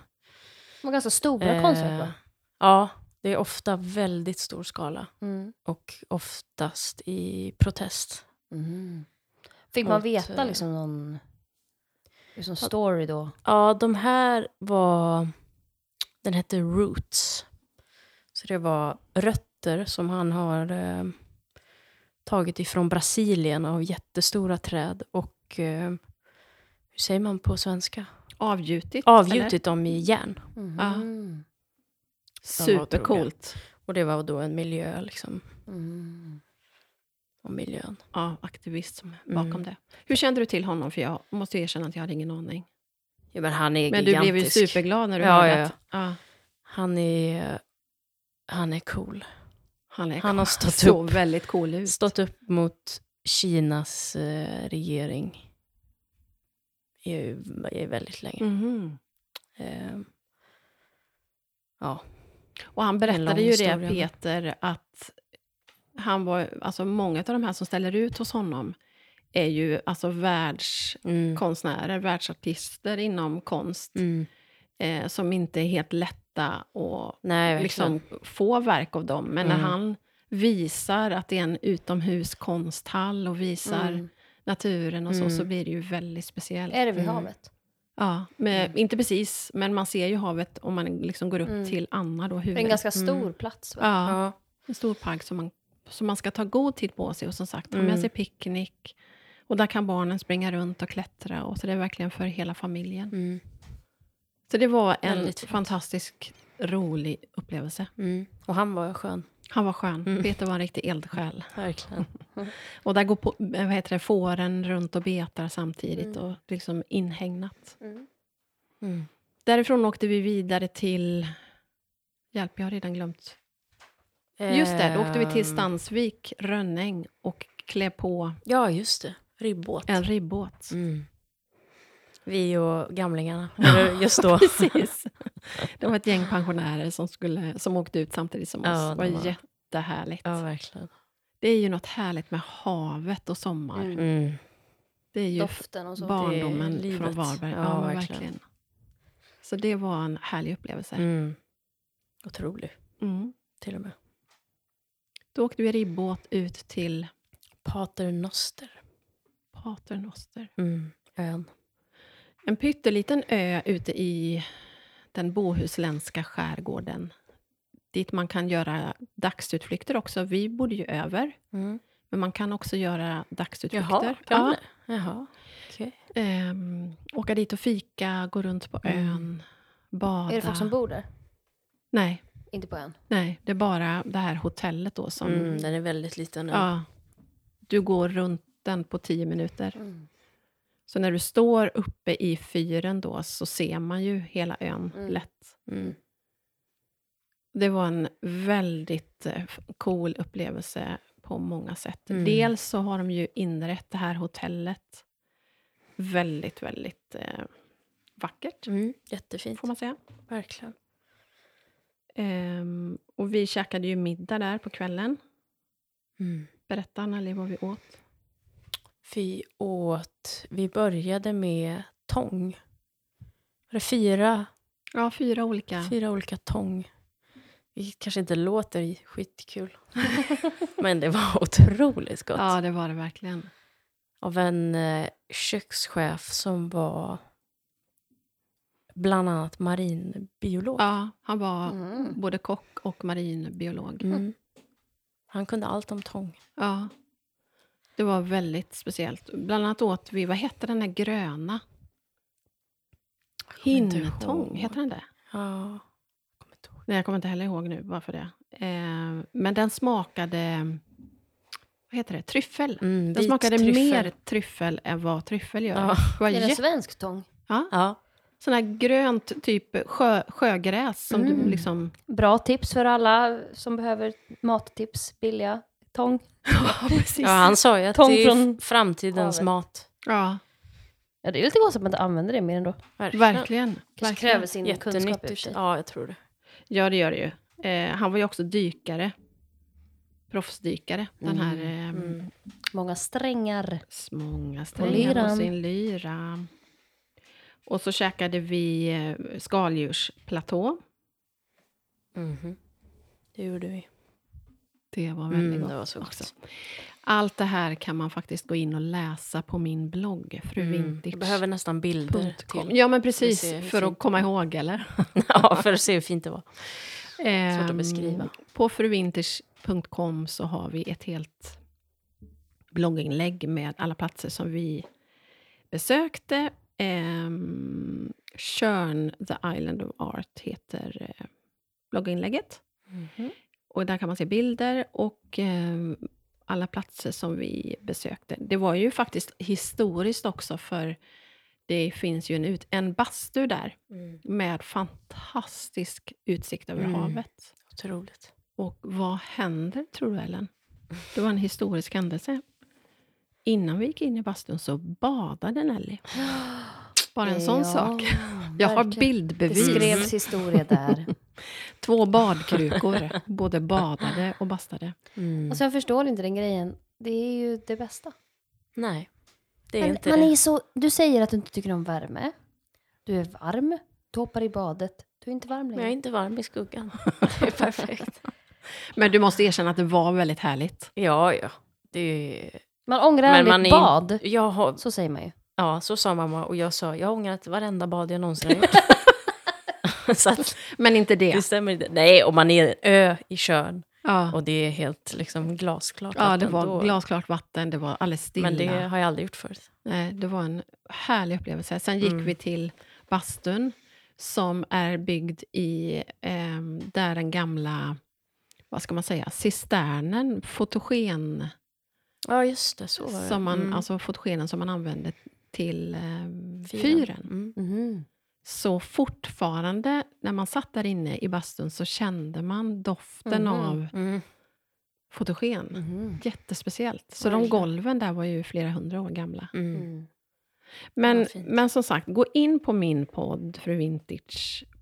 B: De var ganska stora
C: Eh,
B: konstverk va?
C: Ja, det är ofta väldigt stor skala
B: Mm.
C: och oftast i protest.
B: Mm. Fick man
C: Mot,
B: veta
C: eh,
B: liksom någon liksom story då?
C: Ja, de här var... Den hette Roots. Så det var rötter som han har eh, tagit ifrån Brasilien av jättestora träd och... Eh, hur säger man på svenska?
A: Avgjutit. eller?
C: Avgjutit dem i järn.
B: Mhm.
A: Ja.
B: Mm.
A: Supercoolt.
C: Och det var då en miljö, liksom.
B: Mm.
C: Om miljön.
A: Ja, aktivism bakom
C: Mm.
A: det. Hur kände du till honom? För jag måste ju erkänna att jag hade ingen aning.
C: Ja, men han är
A: Men du
C: gigantisk.
A: blev ju superglad när du
C: Ja,
A: hörde
C: ja, ja.
A: att ja,
C: Han är... Han är cool.
A: han, är,
C: Han har stått
A: såg
C: upp.
A: väldigt cool ut.
C: Stått upp mot Kinas eh, regering i, i väldigt länge.
A: Mhm.
C: Eh,
A: Och han
C: lång
A: berättade ju det,
C: historia.
A: Peter, att han var, alltså många av de här som ställer ut hos honom är ju alltså världskonstnärer,
C: mm.
A: världsartister inom konst
C: Mm.
A: eh, som inte är helt lätta att
C: Nej, verkligen.
A: liksom, få verk av dem. Men när
C: Mm.
A: han visar att det är en utomhuskonsthall och visar
B: Mm.
A: naturen och så,
C: Mm.
A: så blir det ju väldigt speciellt.
B: Är det vid
C: Mm.
B: havet?
A: Ja, men, Inte precis, men man ser ju havet om man liksom går upp
B: Mm.
A: till Anna, då,
B: Det är en
A: huvudet.
B: ganska stor plats va?
A: ja.
C: Ja.
A: En stor park som man, som man ska ta god tid på sig och som sagt, ha
C: Mm.
A: med sig picknick. Och där kan barnen springa runt och klättra. Och så det är verkligen för hela familjen.
C: Mm.
A: Så det var en
C: Väldigt fint.
A: fantastisk, rolig upplevelse.
C: Mm. Och han var skön.
A: Han var skön.
C: Mm.
A: Peter var en riktig eldsjäl.
C: Verkligen.
A: Och där går på, eh, vad heter det, fåren runt och betar samtidigt och liksom inhägnat.
B: Mm.
C: Mm.
A: Därifrån åkte vi vidare till... Hjälp, jag har redan glömt. Just det, då åkte vi till
C: Ehm,
A: Stansvik, Rönning och klev på
C: Ja, just det. Ribbåt.
A: en ribbåt.
C: Mm. Vi och gamlingarna. Eller Just då.
A: Precis. Det var ett gäng pensionärer som, skulle, som åkte ut samtidigt som oss.
C: Ja,
A: det
C: de
A: var
C: var-
A: jättehärligt.
C: ja, verkligen.
A: Det är ju något härligt med havet och sommar.
B: Mm.
C: Mm.
A: Det är ju
B: Doften och så.
C: det är
A: barndomen
C: livet.
A: från Varberg. Ja,
C: Ja,
A: men
C: verkligen.
A: verkligen. Så det var en härlig upplevelse.
C: Mm. Otrolig,
A: Mm.
C: till och med.
A: Då åkte vi ribbåt ut till
C: Paternoster.
A: Paternoster.
C: Mm. Ön.
A: En pytteliten ö ute i den bohuslänska skärgården. Dit man kan göra dagsutflykter också. Vi bodde ju över,
C: Mm.
A: men man kan också göra dagsutflykter.
C: kan
A: ja.
C: det? Jaha. Okej.
A: Ehm, åka dit och fika, gå runt på
C: Mm.
A: ön, bada.
B: Är det folk som bor där?
A: Nej,
B: Inte på ön?
A: nej, det är bara det här hotellet då som...
C: Mm, den är väldigt liten. nu.
A: Ja, du går runt den på tio minuter.
B: Mm.
A: Så när du står uppe i fyren då så ser man ju hela ön
B: Mm.
A: lätt.
C: Mm.
A: Det var en väldigt eh, f- cool upplevelse på många sätt.
C: Mm.
A: Dels så har de ju inrett det här hotellet väldigt, väldigt eh, vackert,
C: Mm. Jättefint.
A: får man säga.
C: Verkligen.
A: Ehm, och vi käkade ju middag där på kvällen.
C: Mm.
A: Berätta, Anneli, vad vi åt.
C: Vi åt... Vi började med tång. Var det fyra
A: Ja, fyra olika.
C: Fyra olika tång. Vilket kanske inte låter skitkul. Men det var otroligt gott.
A: Ja, det var det verkligen.
C: Av en eh, kökschef som var bland annat marinbiolog.
A: Ja, han var
B: Mm.
A: både kock och marinbiolog.
C: Mm. Han kunde allt om tång.
A: Ja. Det var väldigt speciellt. Bland annat åt vi, vad hette den där gröna?
C: kommer inte
A: Hinnetång,
C: ihåg.
A: heter den det?
C: Ja, jag kommer inte ihåg.
A: Nej, jag kommer inte heller ihåg nu varför det. Eh, men den smakade, vad heter det, tryffel.
C: Mm,
A: Den
C: vit
A: smakade
C: tryffel.
A: mer tryffel än vad tryffel gör.
C: Ja.
A: Det var
B: Är det en
A: jätte-
B: svensk tång?
A: ja,
C: Ja.
A: sån här grönt typ sjö, sjögräs som du
B: Mm.
A: liksom...
B: Bra tips för alla som behöver mattips, billiga tång.
A: Ja, precis.
C: ja, han sa ju att
B: Tång
C: det är ju
B: från
C: f- framtidens
B: havet.
C: mat.
A: ja
B: Ja, det är lite konstigt att man inte använder det mer ändå.
A: verkligen.
B: Kanske
A: verkligen.
B: kräver sin kunskap ur
C: Jättenyttigt.
B: sig.
C: Ja, jag tror det.
A: Ja, det gör det ju. Eh, han var ju också dykare. Proffsdykare. Den här eh,
C: Mm.
B: Många strängar.
A: många
B: Och
A: strängar
B: lyran.
A: på sin lyra. Och så käkade vi eh, skaldjursplatå.
C: Mhm. Det gjorde vi.
A: Det var väldigt
C: Mm,
A: gott.
C: det var så
A: också.
C: gott.
A: Allt det här kan man faktiskt gå in och läsa på min blogg,
C: Mm. Jag behöver nästan bilder
A: fruvintage.com.
C: till.
A: Ja, men
C: Vi ser
A: precis.
C: hur
A: För att
C: fint
A: komma ihåg, eller?
C: Ja, för att se hur fint det var.
A: Svårt
C: att beskriva.
A: Ehm, På fruvinters.com så har vi ett helt blogginlägg med alla platser som vi besökte. Ehm, Tjörn, The Island of Art, heter eh, blogginlägget. Och där kan man se bilder och ehm, alla platser som vi besökte. Det var ju faktiskt historiskt också, för det finns ju en, ut, en bastu där med fantastisk utsikt över
C: Mm.
A: havet.
C: Otroligt.
A: Och vad händer, tror du Ellen? Det var en historisk händelse. Innan vi gick in i bastun så badade Nelly. Bara en sån
B: Ja,
A: sak. Jag har
B: verkligen. Det
A: bildbevis. Mm.
B: skrevs historia där.
A: Två badkrukor. både badade och bastade.
B: Alltså jag förstår inte den grejen. Det är ju det bästa.
C: Nej, det är
B: Man,
C: inte
B: man
C: det.
B: är så, du säger att du inte tycker om värme. Du är varm. Du hoppar i badet. Du är inte varm
C: Men jag är
B: längre.
C: inte varm i skuggan. Det är perfekt.
A: Men du måste erkänna att det var väldigt härligt.
C: Ja, ja. Det är...
B: Man ångrar
C: Men
B: aldrig
C: man
B: ett
C: är-
B: bad.
C: jag har...
B: Så säger man ju.
C: Ja, så sa mamma och jag sa jag har ångrat varenda bad jag någonsin har gjort. så att,
A: Men inte det.
C: det stämmer inte. Nej, och man är en ö i Tjörn
A: Ja,
C: och det är helt liksom glasklart.
A: ja det
C: vatten.
A: var
C: Då-
A: glasklart vatten, det var alldeles stilla.
C: Men det har jag aldrig gjort förut.
A: Nej, Eh, det var en härlig upplevelse. Sen gick
C: Mm.
A: vi till bastun som är byggd i eh, där den gamla, vad ska man säga, cisternen, fotogen,
C: Ja, just det. Så var det.
A: som man,
C: Mm.
A: alltså fotogenen som man använde till eh, fyren.
C: Mm.
B: Mhm.
A: Så fortfarande, när man satt där inne i bastun, så kände man doften
B: Mhm.
A: av
C: Mm.
A: fotogen.
B: Mhm.
A: Jättespeciellt. Så de
C: Verkligen.
A: golven där var ju flera hundra år gamla.
C: Mm.
B: Mm.
A: Men,
C: Vad fint.
A: men som sagt, gå in på min podd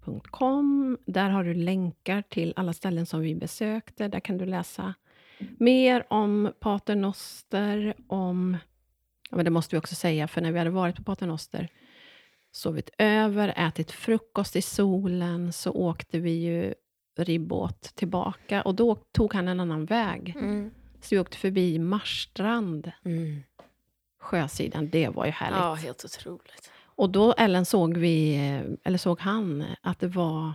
A: fruvintage.com. Där har du länkar till alla ställen som vi besökte. Där kan du läsa mer om paternoster, om... Ja, men det måste vi också säga, för när vi hade varit på paternoster sovit över, ätit frukost i solen, så åkte vi ju ribbåt tillbaka och då tog han en annan väg.
C: Mm.
A: Så vi åkte förbi Marstrand, sjösidan. Det var ju härligt.
C: Ja, helt otroligt.
A: Och då Ellen såg vi, eller såg han, att det var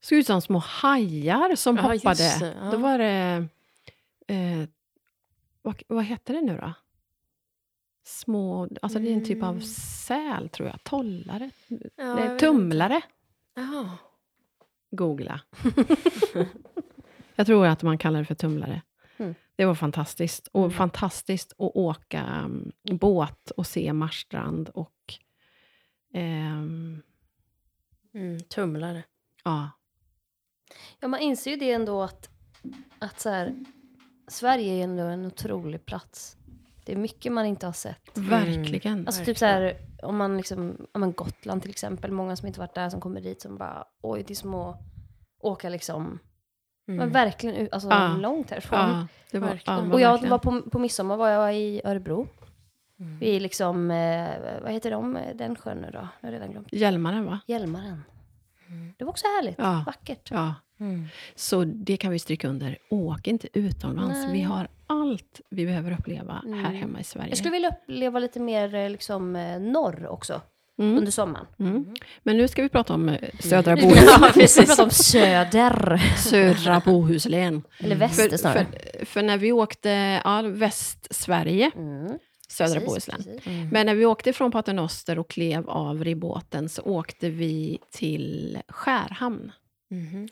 A: såg ut som små hajar som
C: Ja, just
A: hoppade.
C: det, ja.
A: Då var det, eh, vad, vad heter det nu då? Små, alltså det är en typ av
C: Mm.
A: säl tror jag, tollare,
C: Ja, jag
A: nej,
C: vet
A: tumlare.
C: inte. Jaha.
A: Googla. jag tror att man kallar det för tumlare.
B: Mm.
A: Det var fantastiskt. Och
C: Mm.
A: fantastiskt att åka um, båt och se Marstrand och ehm,
C: Mm, tumlare.
A: ja,
B: Ja, man inser ju det ändå att, att så här, Sverige är ändå en otrolig plats. Det är mycket man inte har sett.
A: verkligen.
B: Alltså typ så här, om man liksom, ja men Gotland till exempel, många som inte varit där som kommer dit som bara, oj det är som att åka liksom,
C: Mm.
B: men verkligen ut- alltså,
A: Ja.
B: långt härifrån.
A: ja, det var,
C: Verkligen.
A: ja, men
B: Och jag
A: Ah. verkligen.
B: var på, på midsommar var jag i Örebro. Vi liksom, eh, vad heter de, den sjön nu då? Jag har redan glömt.
A: Hjälmaren, va?
B: Hjälmaren. Det var också härligt,
A: Ja.
B: vackert.
A: Ja.
C: mm.
A: Så det kan vi stryka under. Åk inte utomlands.
B: Nej.
A: Vi har allt vi behöver uppleva här
B: Mm.
A: hemma i Sverige.
B: Jag skulle vilja uppleva lite mer eh, liksom, eh, norr också,
A: mm.
B: under sommaren.
A: Mm. Men nu ska vi prata om eh, södra,
B: Vi
A: Bohus,
B: ska prata om söder.
A: södra Bohuslän.
B: Eller väster
A: för,
B: snarare.
A: för, för när vi åkte, ja, Västsverige,
B: Mm,
A: södra
B: precis,
A: Bohuslän.
B: precis.
A: Men när vi åkte från Paternoster och klev av ribbåten så åkte vi till Skärhamn.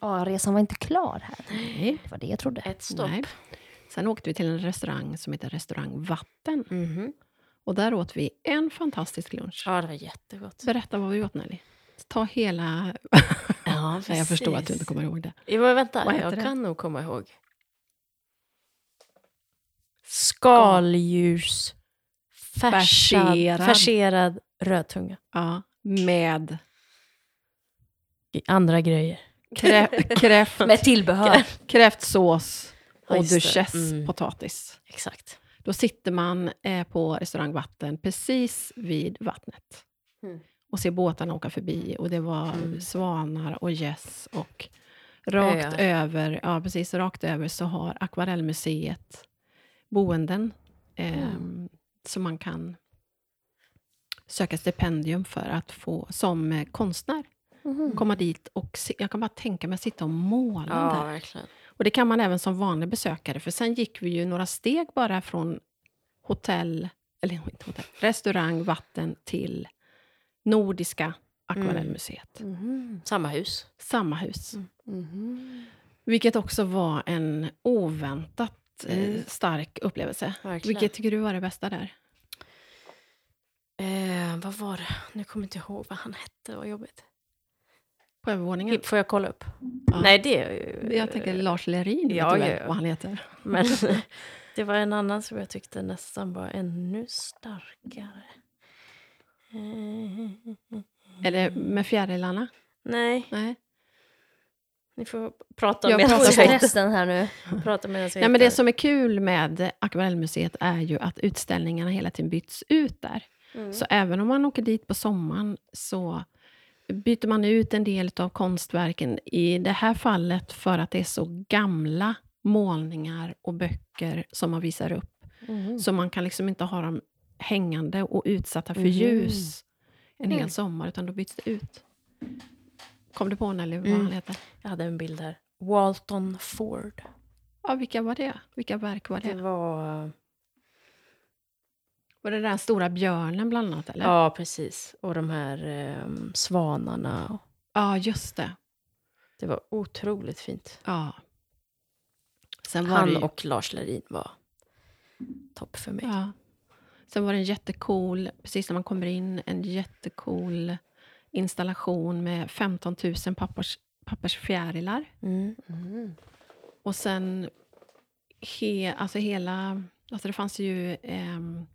B: Ja, resan var inte klar här.
A: Nej.
B: Det var det jag trodde.
C: Mm-hmm. Ett stopp.
A: Nej. Sen åkte vi till en restaurang som heter Restaurang Vatten.
C: Mhm.
A: Och där åt vi en fantastisk lunch.
C: Ja, det var jättegott.
A: Berätta vad vi åt Nelly. Ta hela...
C: Ja,
A: Nej, jag förstår att du inte kommer ihåg det.
C: Jo, men vänta.
A: Vad heter
C: jag
A: det?
C: kan nog komma ihåg. Skaldjurs... Färserad,
A: Färserad.
C: färserad rödtunga.
A: Ja, med
C: I andra grejer.
A: krä- kräft,
B: Med tillbehör.
A: kräftsås
C: Ja,
A: och
C: just det.
A: duchesspotatis.
C: Mm.
A: potatis.
C: Exakt.
A: Då sitter man eh, på restaurang Vatten precis vid vattnet.
B: Mm.
A: Och ser båtarna åka förbi. Och det var svanar och gäss och rakt
C: Mm. Öar.
A: över, ja precis, rakt över så har Akvarellmuseet boenden eh,
C: Mm.
A: som man kan söka stipendium för att få som eh, konstnär.
B: Mm-hmm.
A: Komma dit och se, jag kan bara tänka mig att sitta och måla där.
C: Mm. Ja, verkligen.
A: Och det kan man även som vanlig besökare, för sen gick vi ju några steg bara från hotell, eller inte hotell, restaurang, vatten till Nordiska akvarellmuseet.
C: Mm.
B: Mhm.
C: Samma hus.
A: Samma hus.
C: Mm.
B: Mhm.
A: Vilket också var en oväntat eh,
C: Mm.
A: stark upplevelse.
C: Verkligen.
A: Vilket tycker du var det bästa där?
C: Eh, vad var det? Nu kommer jag inte ihåg vad han hette. Vad jobbigt.
A: På övervåningen?
C: Får jag kolla upp?
A: Ja.
C: Nej, det... är ju-
A: Jag tänker Lars Lerin,
C: eh, Ja,
A: vet du väl
C: ja, ja. Mm.
A: vad han heter?
C: Men det var en annan som jag tyckte nästan var ännu starkare. Eh,
A: Eller med fjärilarna?
C: Nej,
A: Nej.
C: ni får prata om
A: Jag
C: medan
A: pratar
C: jag
A: på.
C: hittar-
B: Stressen här nu.
C: prata medan jag
A: Nej, men det
C: hittar.
A: som är kul med Akvarellmuseet är ju att utställningarna hela tiden byts ut där. Så även om man åker dit på sommaren så byter man ut en del av konstverken. I det här fallet för att det är så gamla målningar och böcker som man visar upp.
C: Mm.
A: Så man kan liksom inte ha dem hängande och utsatta för
C: Mhm.
A: ljus en
C: Mm.
A: hel sommar, utan då byts det ut. Kom du på Nelly vad
C: Mm.
A: han heter?
C: Jag hade en bild här. Walton Ford.
A: Ja, vilka var det? Vilka verk var
C: Det
A: det?
C: var...
A: Var det den stora björnen bland annat? Eller?
C: Ja, precis. Och de här eh, svanarna.
A: Ja, just det.
C: Det var otroligt fint.
A: Ja. Sen var det
C: Han
A: ju,
C: och Lars Lerin var topp för mig.
A: ja. Sen var det en jättecool, precis när man kommer in, en jättecool installation med 15 000 pappers, pappersfjärilar.
C: Mm.
B: Mm-hmm.
A: Och sen he, alltså hela, alltså det fanns ju ehm,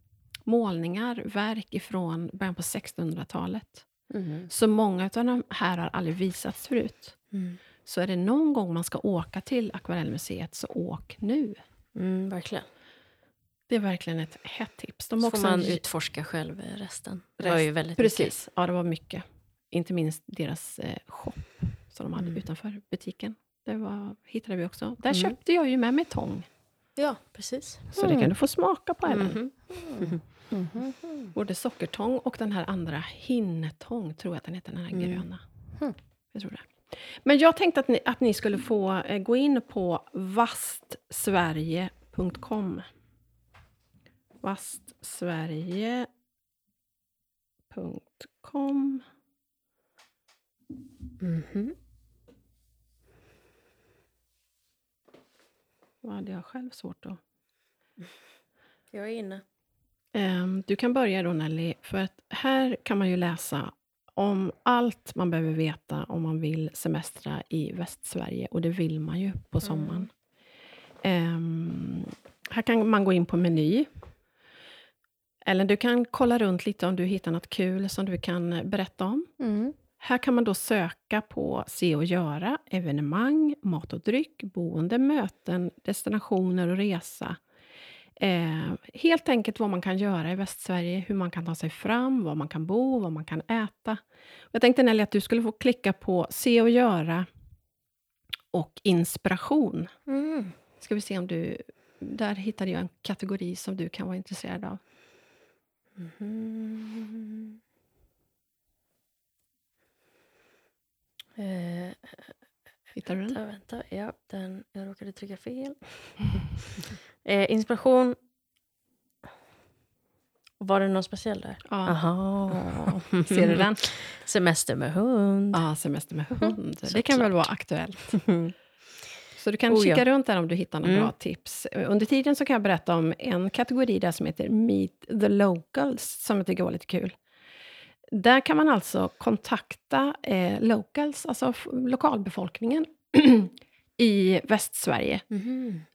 A: målningar, verk ifrån början på 1600-talet.
B: Mm.
A: Så många av de här har aldrig visats förut.
C: Mm.
A: Så är det någon gång man ska åka till Akvarellmuseet, så åk nu.
C: Mm, verkligen.
A: Det är verkligen ett hett tips. De
C: Så
A: har
C: får
A: också
C: man
A: en-
C: utforska själv eh, resten. Det var ju väldigt mycket.
A: Precis, ja det var mycket. Inte minst deras eh, shop som de hade
C: Mm.
A: utanför butiken. Det var, hittade vi också. Där
C: Mm.
A: köpte jag ju med mig tång.
C: Ja, precis.
A: Så det kan du få smaka på även.
C: Mhm. Mm.
A: Både sockertång och den här andra, hinnetång tror jag att den heter, den här
C: Mm.
A: gröna.
B: Hmm.
A: Jag tror det. Men jag tänkte att ni, att ni skulle få eh, gå in på vastsverige.com. Vastsverige.com.
C: Mhm.
A: Vad hade jag själv svårt att...
C: Jag är inne.
A: Ehm, Du kan börja då Nelly, för att här kan man ju läsa om allt man behöver veta om man vill semestra i Västsverige, och det vill man ju på sommaren. Ehm, här kan man gå in på meny. Eller du kan kolla runt lite om du hittar något kul som du kan eh, berätta om.
B: Mm.
A: Här kan man då söka på se och göra, evenemang, mat och dryck, boende, möten, destinationer och resa. Eh, helt enkelt vad man kan göra i Västsverige, hur man kan ta sig fram, var man kan bo, vad man kan äta. Jag tänkte Nelly att du skulle få klicka på se och göra och inspiration.
C: Mm.
A: Ska vi se om du... Där hittade jag en kategori som du kan vara intresserad av.
C: Mhm. Eh,
A: Hittar du den?
C: Vänta, vänta. Ja, den, jag råkade trycka fel. eh, inspiration. Var det någon speciell där?
A: Ja.
C: Aha.
A: Ser du den?
C: Semester med hund. Mm-hmm.
A: Ja, semester med hund. Det
C: såklart.
A: kan väl vara aktuellt. Så du kan
C: Oh, ja.
A: kika runt där om du hittar några
C: Mm.
A: bra tips. Eh, Under tiden så kan jag berätta om en kategori där som heter Meet the Locals, som jag tycker var lite kul. Där kan man alltså kontakta eh, locals, alltså f- lokalbefolkningen i Västsverige.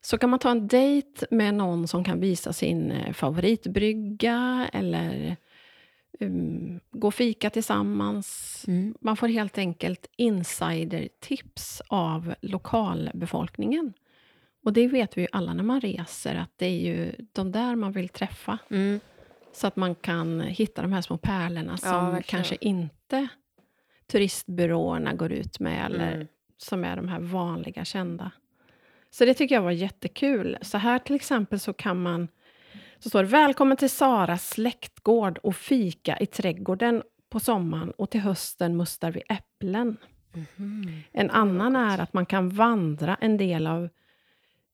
A: Så kan man ta en dejt med någon som kan visa sin eh, favoritbrygga eller um, gå och fika tillsammans.
C: Mm.
A: Man får helt enkelt insidertips av lokalbefolkningen. Och det vet vi ju alla när man reser, att det är ju de där man vill träffa.
C: Mm.
A: Så att man kan hitta de här små pärlorna som
C: verkligen.
A: kanske inte turistbyråerna går ut med, eller
C: Mm.
A: som är de här vanliga kända. Så det tycker jag var jättekul. Så här till exempel så kan man... Så står det “Välkommen till Saras släktgård och fika i trädgården på sommaren och till hösten mustar vi äpplen”.
C: Mhm.
A: En annan är att man kan vandra en del av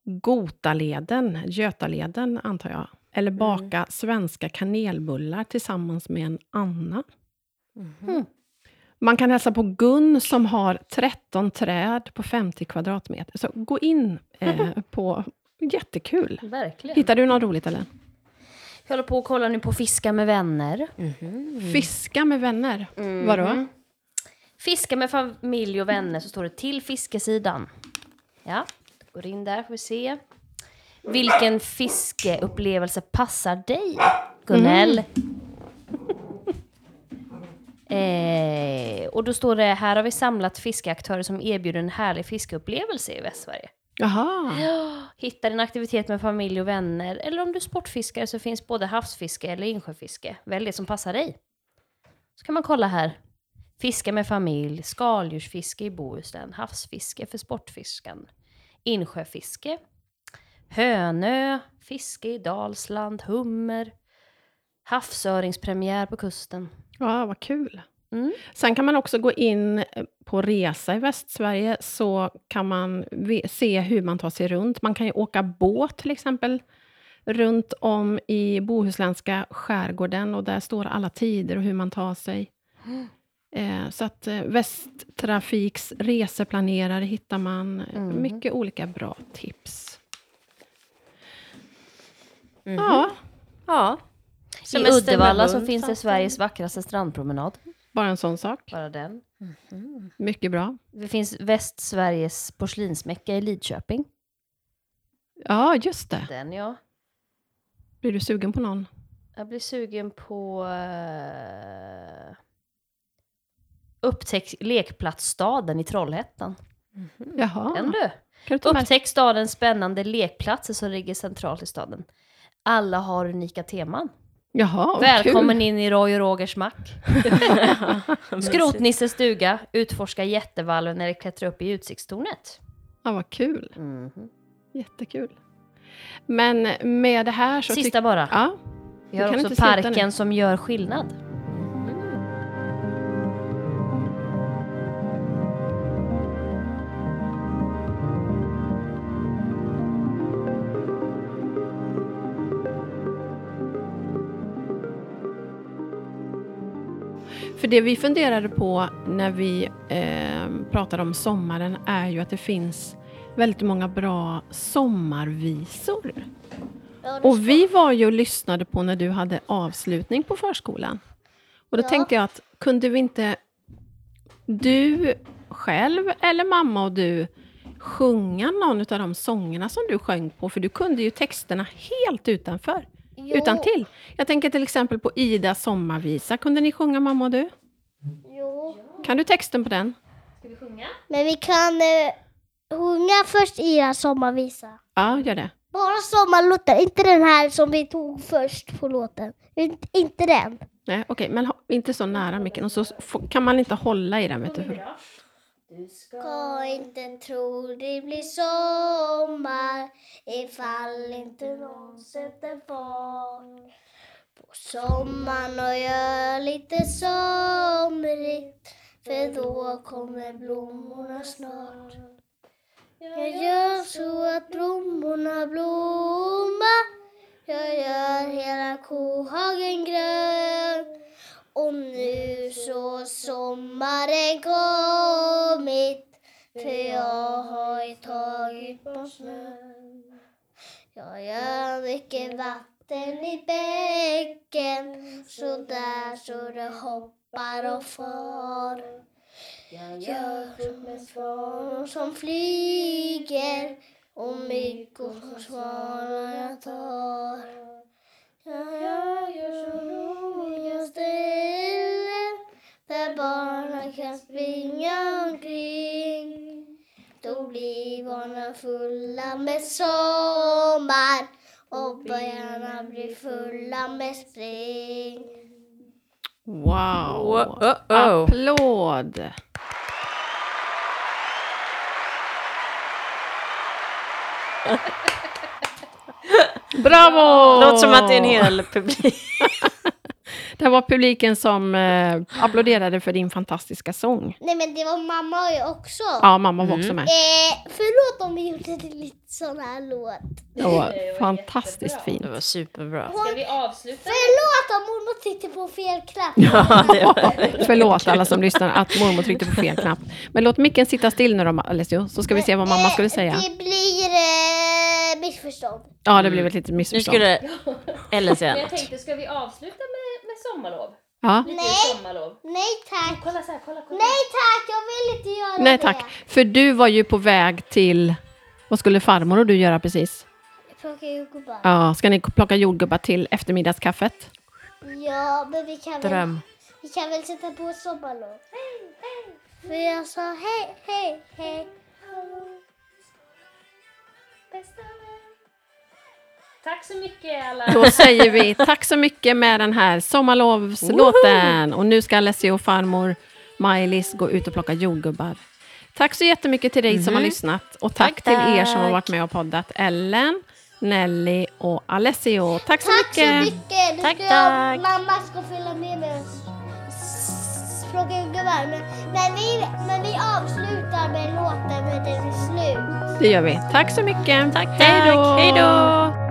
A: Gotaleden, Götaleden antar jag, eller
C: Mm.
A: baka svenska kanelbullar tillsammans med en Anna.
C: Mhm.
A: Man kan hälsa på Gun som har 13 träd på 50 kvadratmeter. Så gå in eh, på... Jättekul!
B: Verkligen.
A: Hittar du något roligt eller?
B: Jag håller på och kollar nu på Fiska med vänner.
C: Mm.
A: Fiska med vänner.
B: Mhm.
A: Vadå?
B: Fiska med familj och vänner så står det till fiskesidan. Ja, går in där får vi se. Vilken fiskeupplevelse passar dig, Gunnel? Eh, och då står det här har vi samlat fiskeaktörer som erbjuder en härlig fiskeupplevelse i Västsverige.
A: Jaha.
B: Hitta din aktivitet med familj och vänner eller om du är sportfiskare så finns både havsfiske eller insjöfiske. Välj det som passar dig. Så kan man kolla här. Fiska med familj, skaldjursfiske i Bohuslän, havsfiske för sportfiskan, insjöfiske, hönö, fiske i Dalsland, hummer, havsöringspremiär på kusten.
A: Ja, vad kul.
B: Mm.
A: Sen kan man också gå in eh, på resa i Västsverige, så kan man ve- se hur man tar sig runt. Man kan ju åka båt till exempel, runt om i bohuslänska skärgården, och där står alla tider och hur man tar sig. Eh, Så att eh, Västtrafiks reseplanerare hittar man. eh,
B: Mm.
A: Mycket olika bra tips.
B: Mm-hmm.
A: Ja,
C: Ja.
B: I
C: Semester med
B: Uddevalla så
C: hund,
B: finns det
C: sant?
B: Sveriges vackraste strandpromenad.
A: bara en sån sak.
B: Bara den.
A: Mycket bra.
B: Det finns Västsveriges porslinsmäcka i Lidköping.
A: Ja, just det.
B: Den ja.
A: Blir du sugen på någon?
B: Jag blir sugen på uh, Upptäck lekplatsstaden i Trollhättan. Mm,
A: Jaha.
B: Den du!
A: Kan du ta Ah. med?
B: Upptäck stadens spännande lekplatser som ligger centralt i staden. Alla har unika teman.
A: Jaha, vad
B: Välkommen
A: kul.
B: in i Roy och Rogers mack. Skrotnisses stuga, utforska jättevalven eller klättra upp i utsiktstornet. Mhm.
A: Ja, vad kul. Jättekul. Men med det här så...
B: Sista bara.
A: tyck- Ja.
B: Vi
A: vi
B: har
A: kan
B: också
A: inte sluta nu.
B: parken som gör skillnad.
A: För det vi funderade på när vi eh, pratade om sommaren är ju att det finns väldigt många bra sommarvisor.
D: Ja, det
A: Och vi var ju och lyssnade på när du hade avslutning på förskolan. Och då
D: Ja.
A: tänkte jag att kunde vi inte du själv eller mamma och du sjunga någon av de sångerna som du sjöng på? För du kunde ju texterna helt utanför,
D: Jo,
A: utan till. Jag tänker till exempel på Ida sommarvisa. Kunde ni sjunga mamma och du?
D: Jo.
A: Kan du texten på den?
D: Men vi kan eh, sjunga först Iras sommarvisa.
A: Ja, gör det.
D: Bara sommarlåtar, inte den här som vi tog först på låten. Inte, inte den.
A: Nej, okej, men ha- inte så nära micken. Och så f- kan man inte hålla i den, vet du.
D: Ska inte tro det blir sommar ifall inte någon sätter fart på sommaren och gör lite somrigt för då kommer blommorna snart. Jag gör så att blommorna blommar jag gör hela kohagen grön och nu så sommaren kommit för jag har ju tagit bort snön. Jag gör mycket vatten i bäcken så där så det hoppar och far. Jag gör som en svan som flyger och mygg och svanar jag tar. Jag gör så roliga ställen där barnen kan springa omkring. Då blir barnen fulla med sommar och böjarna blir fulla med spring.
A: Wow!
C: Wo- oh, oh.
A: Applåd! Bravo!
C: Låter som att det är en hel publik.
A: Det var publiken som eh, applåderade för din fantastiska sång.
D: Nej men det var mamma och jag också.
A: Ja, mamma var också
C: Mm.
A: med.
D: Eh, förlåt om vi gjorde det lite sån här låt.
A: Det var fantastiskt fint.
C: Det var superbra.
D: Hon,
B: vi avsluta?
D: förlåt om mormor tittar på fel knapp.
A: Förlåt alla som lyssnar att mormor tryckte på fel knapp. Men låt micken sitta still nu då, Alessio, så ska vi se vad mamma skulle säga.
D: Eh,
C: Mm.
D: Det blir eh, missförstånd.
A: Ja, det blev ett litet
C: Nu
A: missförstånd.
C: skulle Ellen säga något.
B: ska vi avsluta med, med sommarlov?
A: Ja.
D: Nej.
B: sommarlov.
D: Nej tack.
B: Kolla så här, kolla, kolla.
D: Nej tack, jag vill inte göra
A: Nej
D: det.
A: tack, för du var ju på väg till... Vad skulle farmor och du göra precis?
D: Jag plockar ju gubbar. Ja.
A: Ja, ska ni plocka jordgubbar till eftermiddagskaffet?
D: men vi kan, väl,
C: Dröm.
D: vi kan väl sätta på ett sommarlov. För jag sa hej, hej, hej. Hallå. Bästa vän.
B: Tack så mycket alla.
A: Då säger vi tack så mycket med den här sommarlovslåten. Och nu ska Alessio och farmor Maj-Lis gå ut och plocka jordgubbar. Tack så jättemycket till dig som har lyssnat. Och Mhm. tack,
C: Tack,
A: till er som har
C: tack.
A: varit med och poddat. Ellen, Nelly och Alessio. Tack så
D: Tack så
A: mycket.
D: mycket. Nu
C: Tack,
D: ska jag-
C: tack.
D: Mamma ska följa med mig och s- plocka gubbar. Men, men, vi, men vi avslutar med låten när den är slut.
A: Det gör vi. Tack så mycket.
C: Tack,
A: Hej då.
C: tack. Hej då.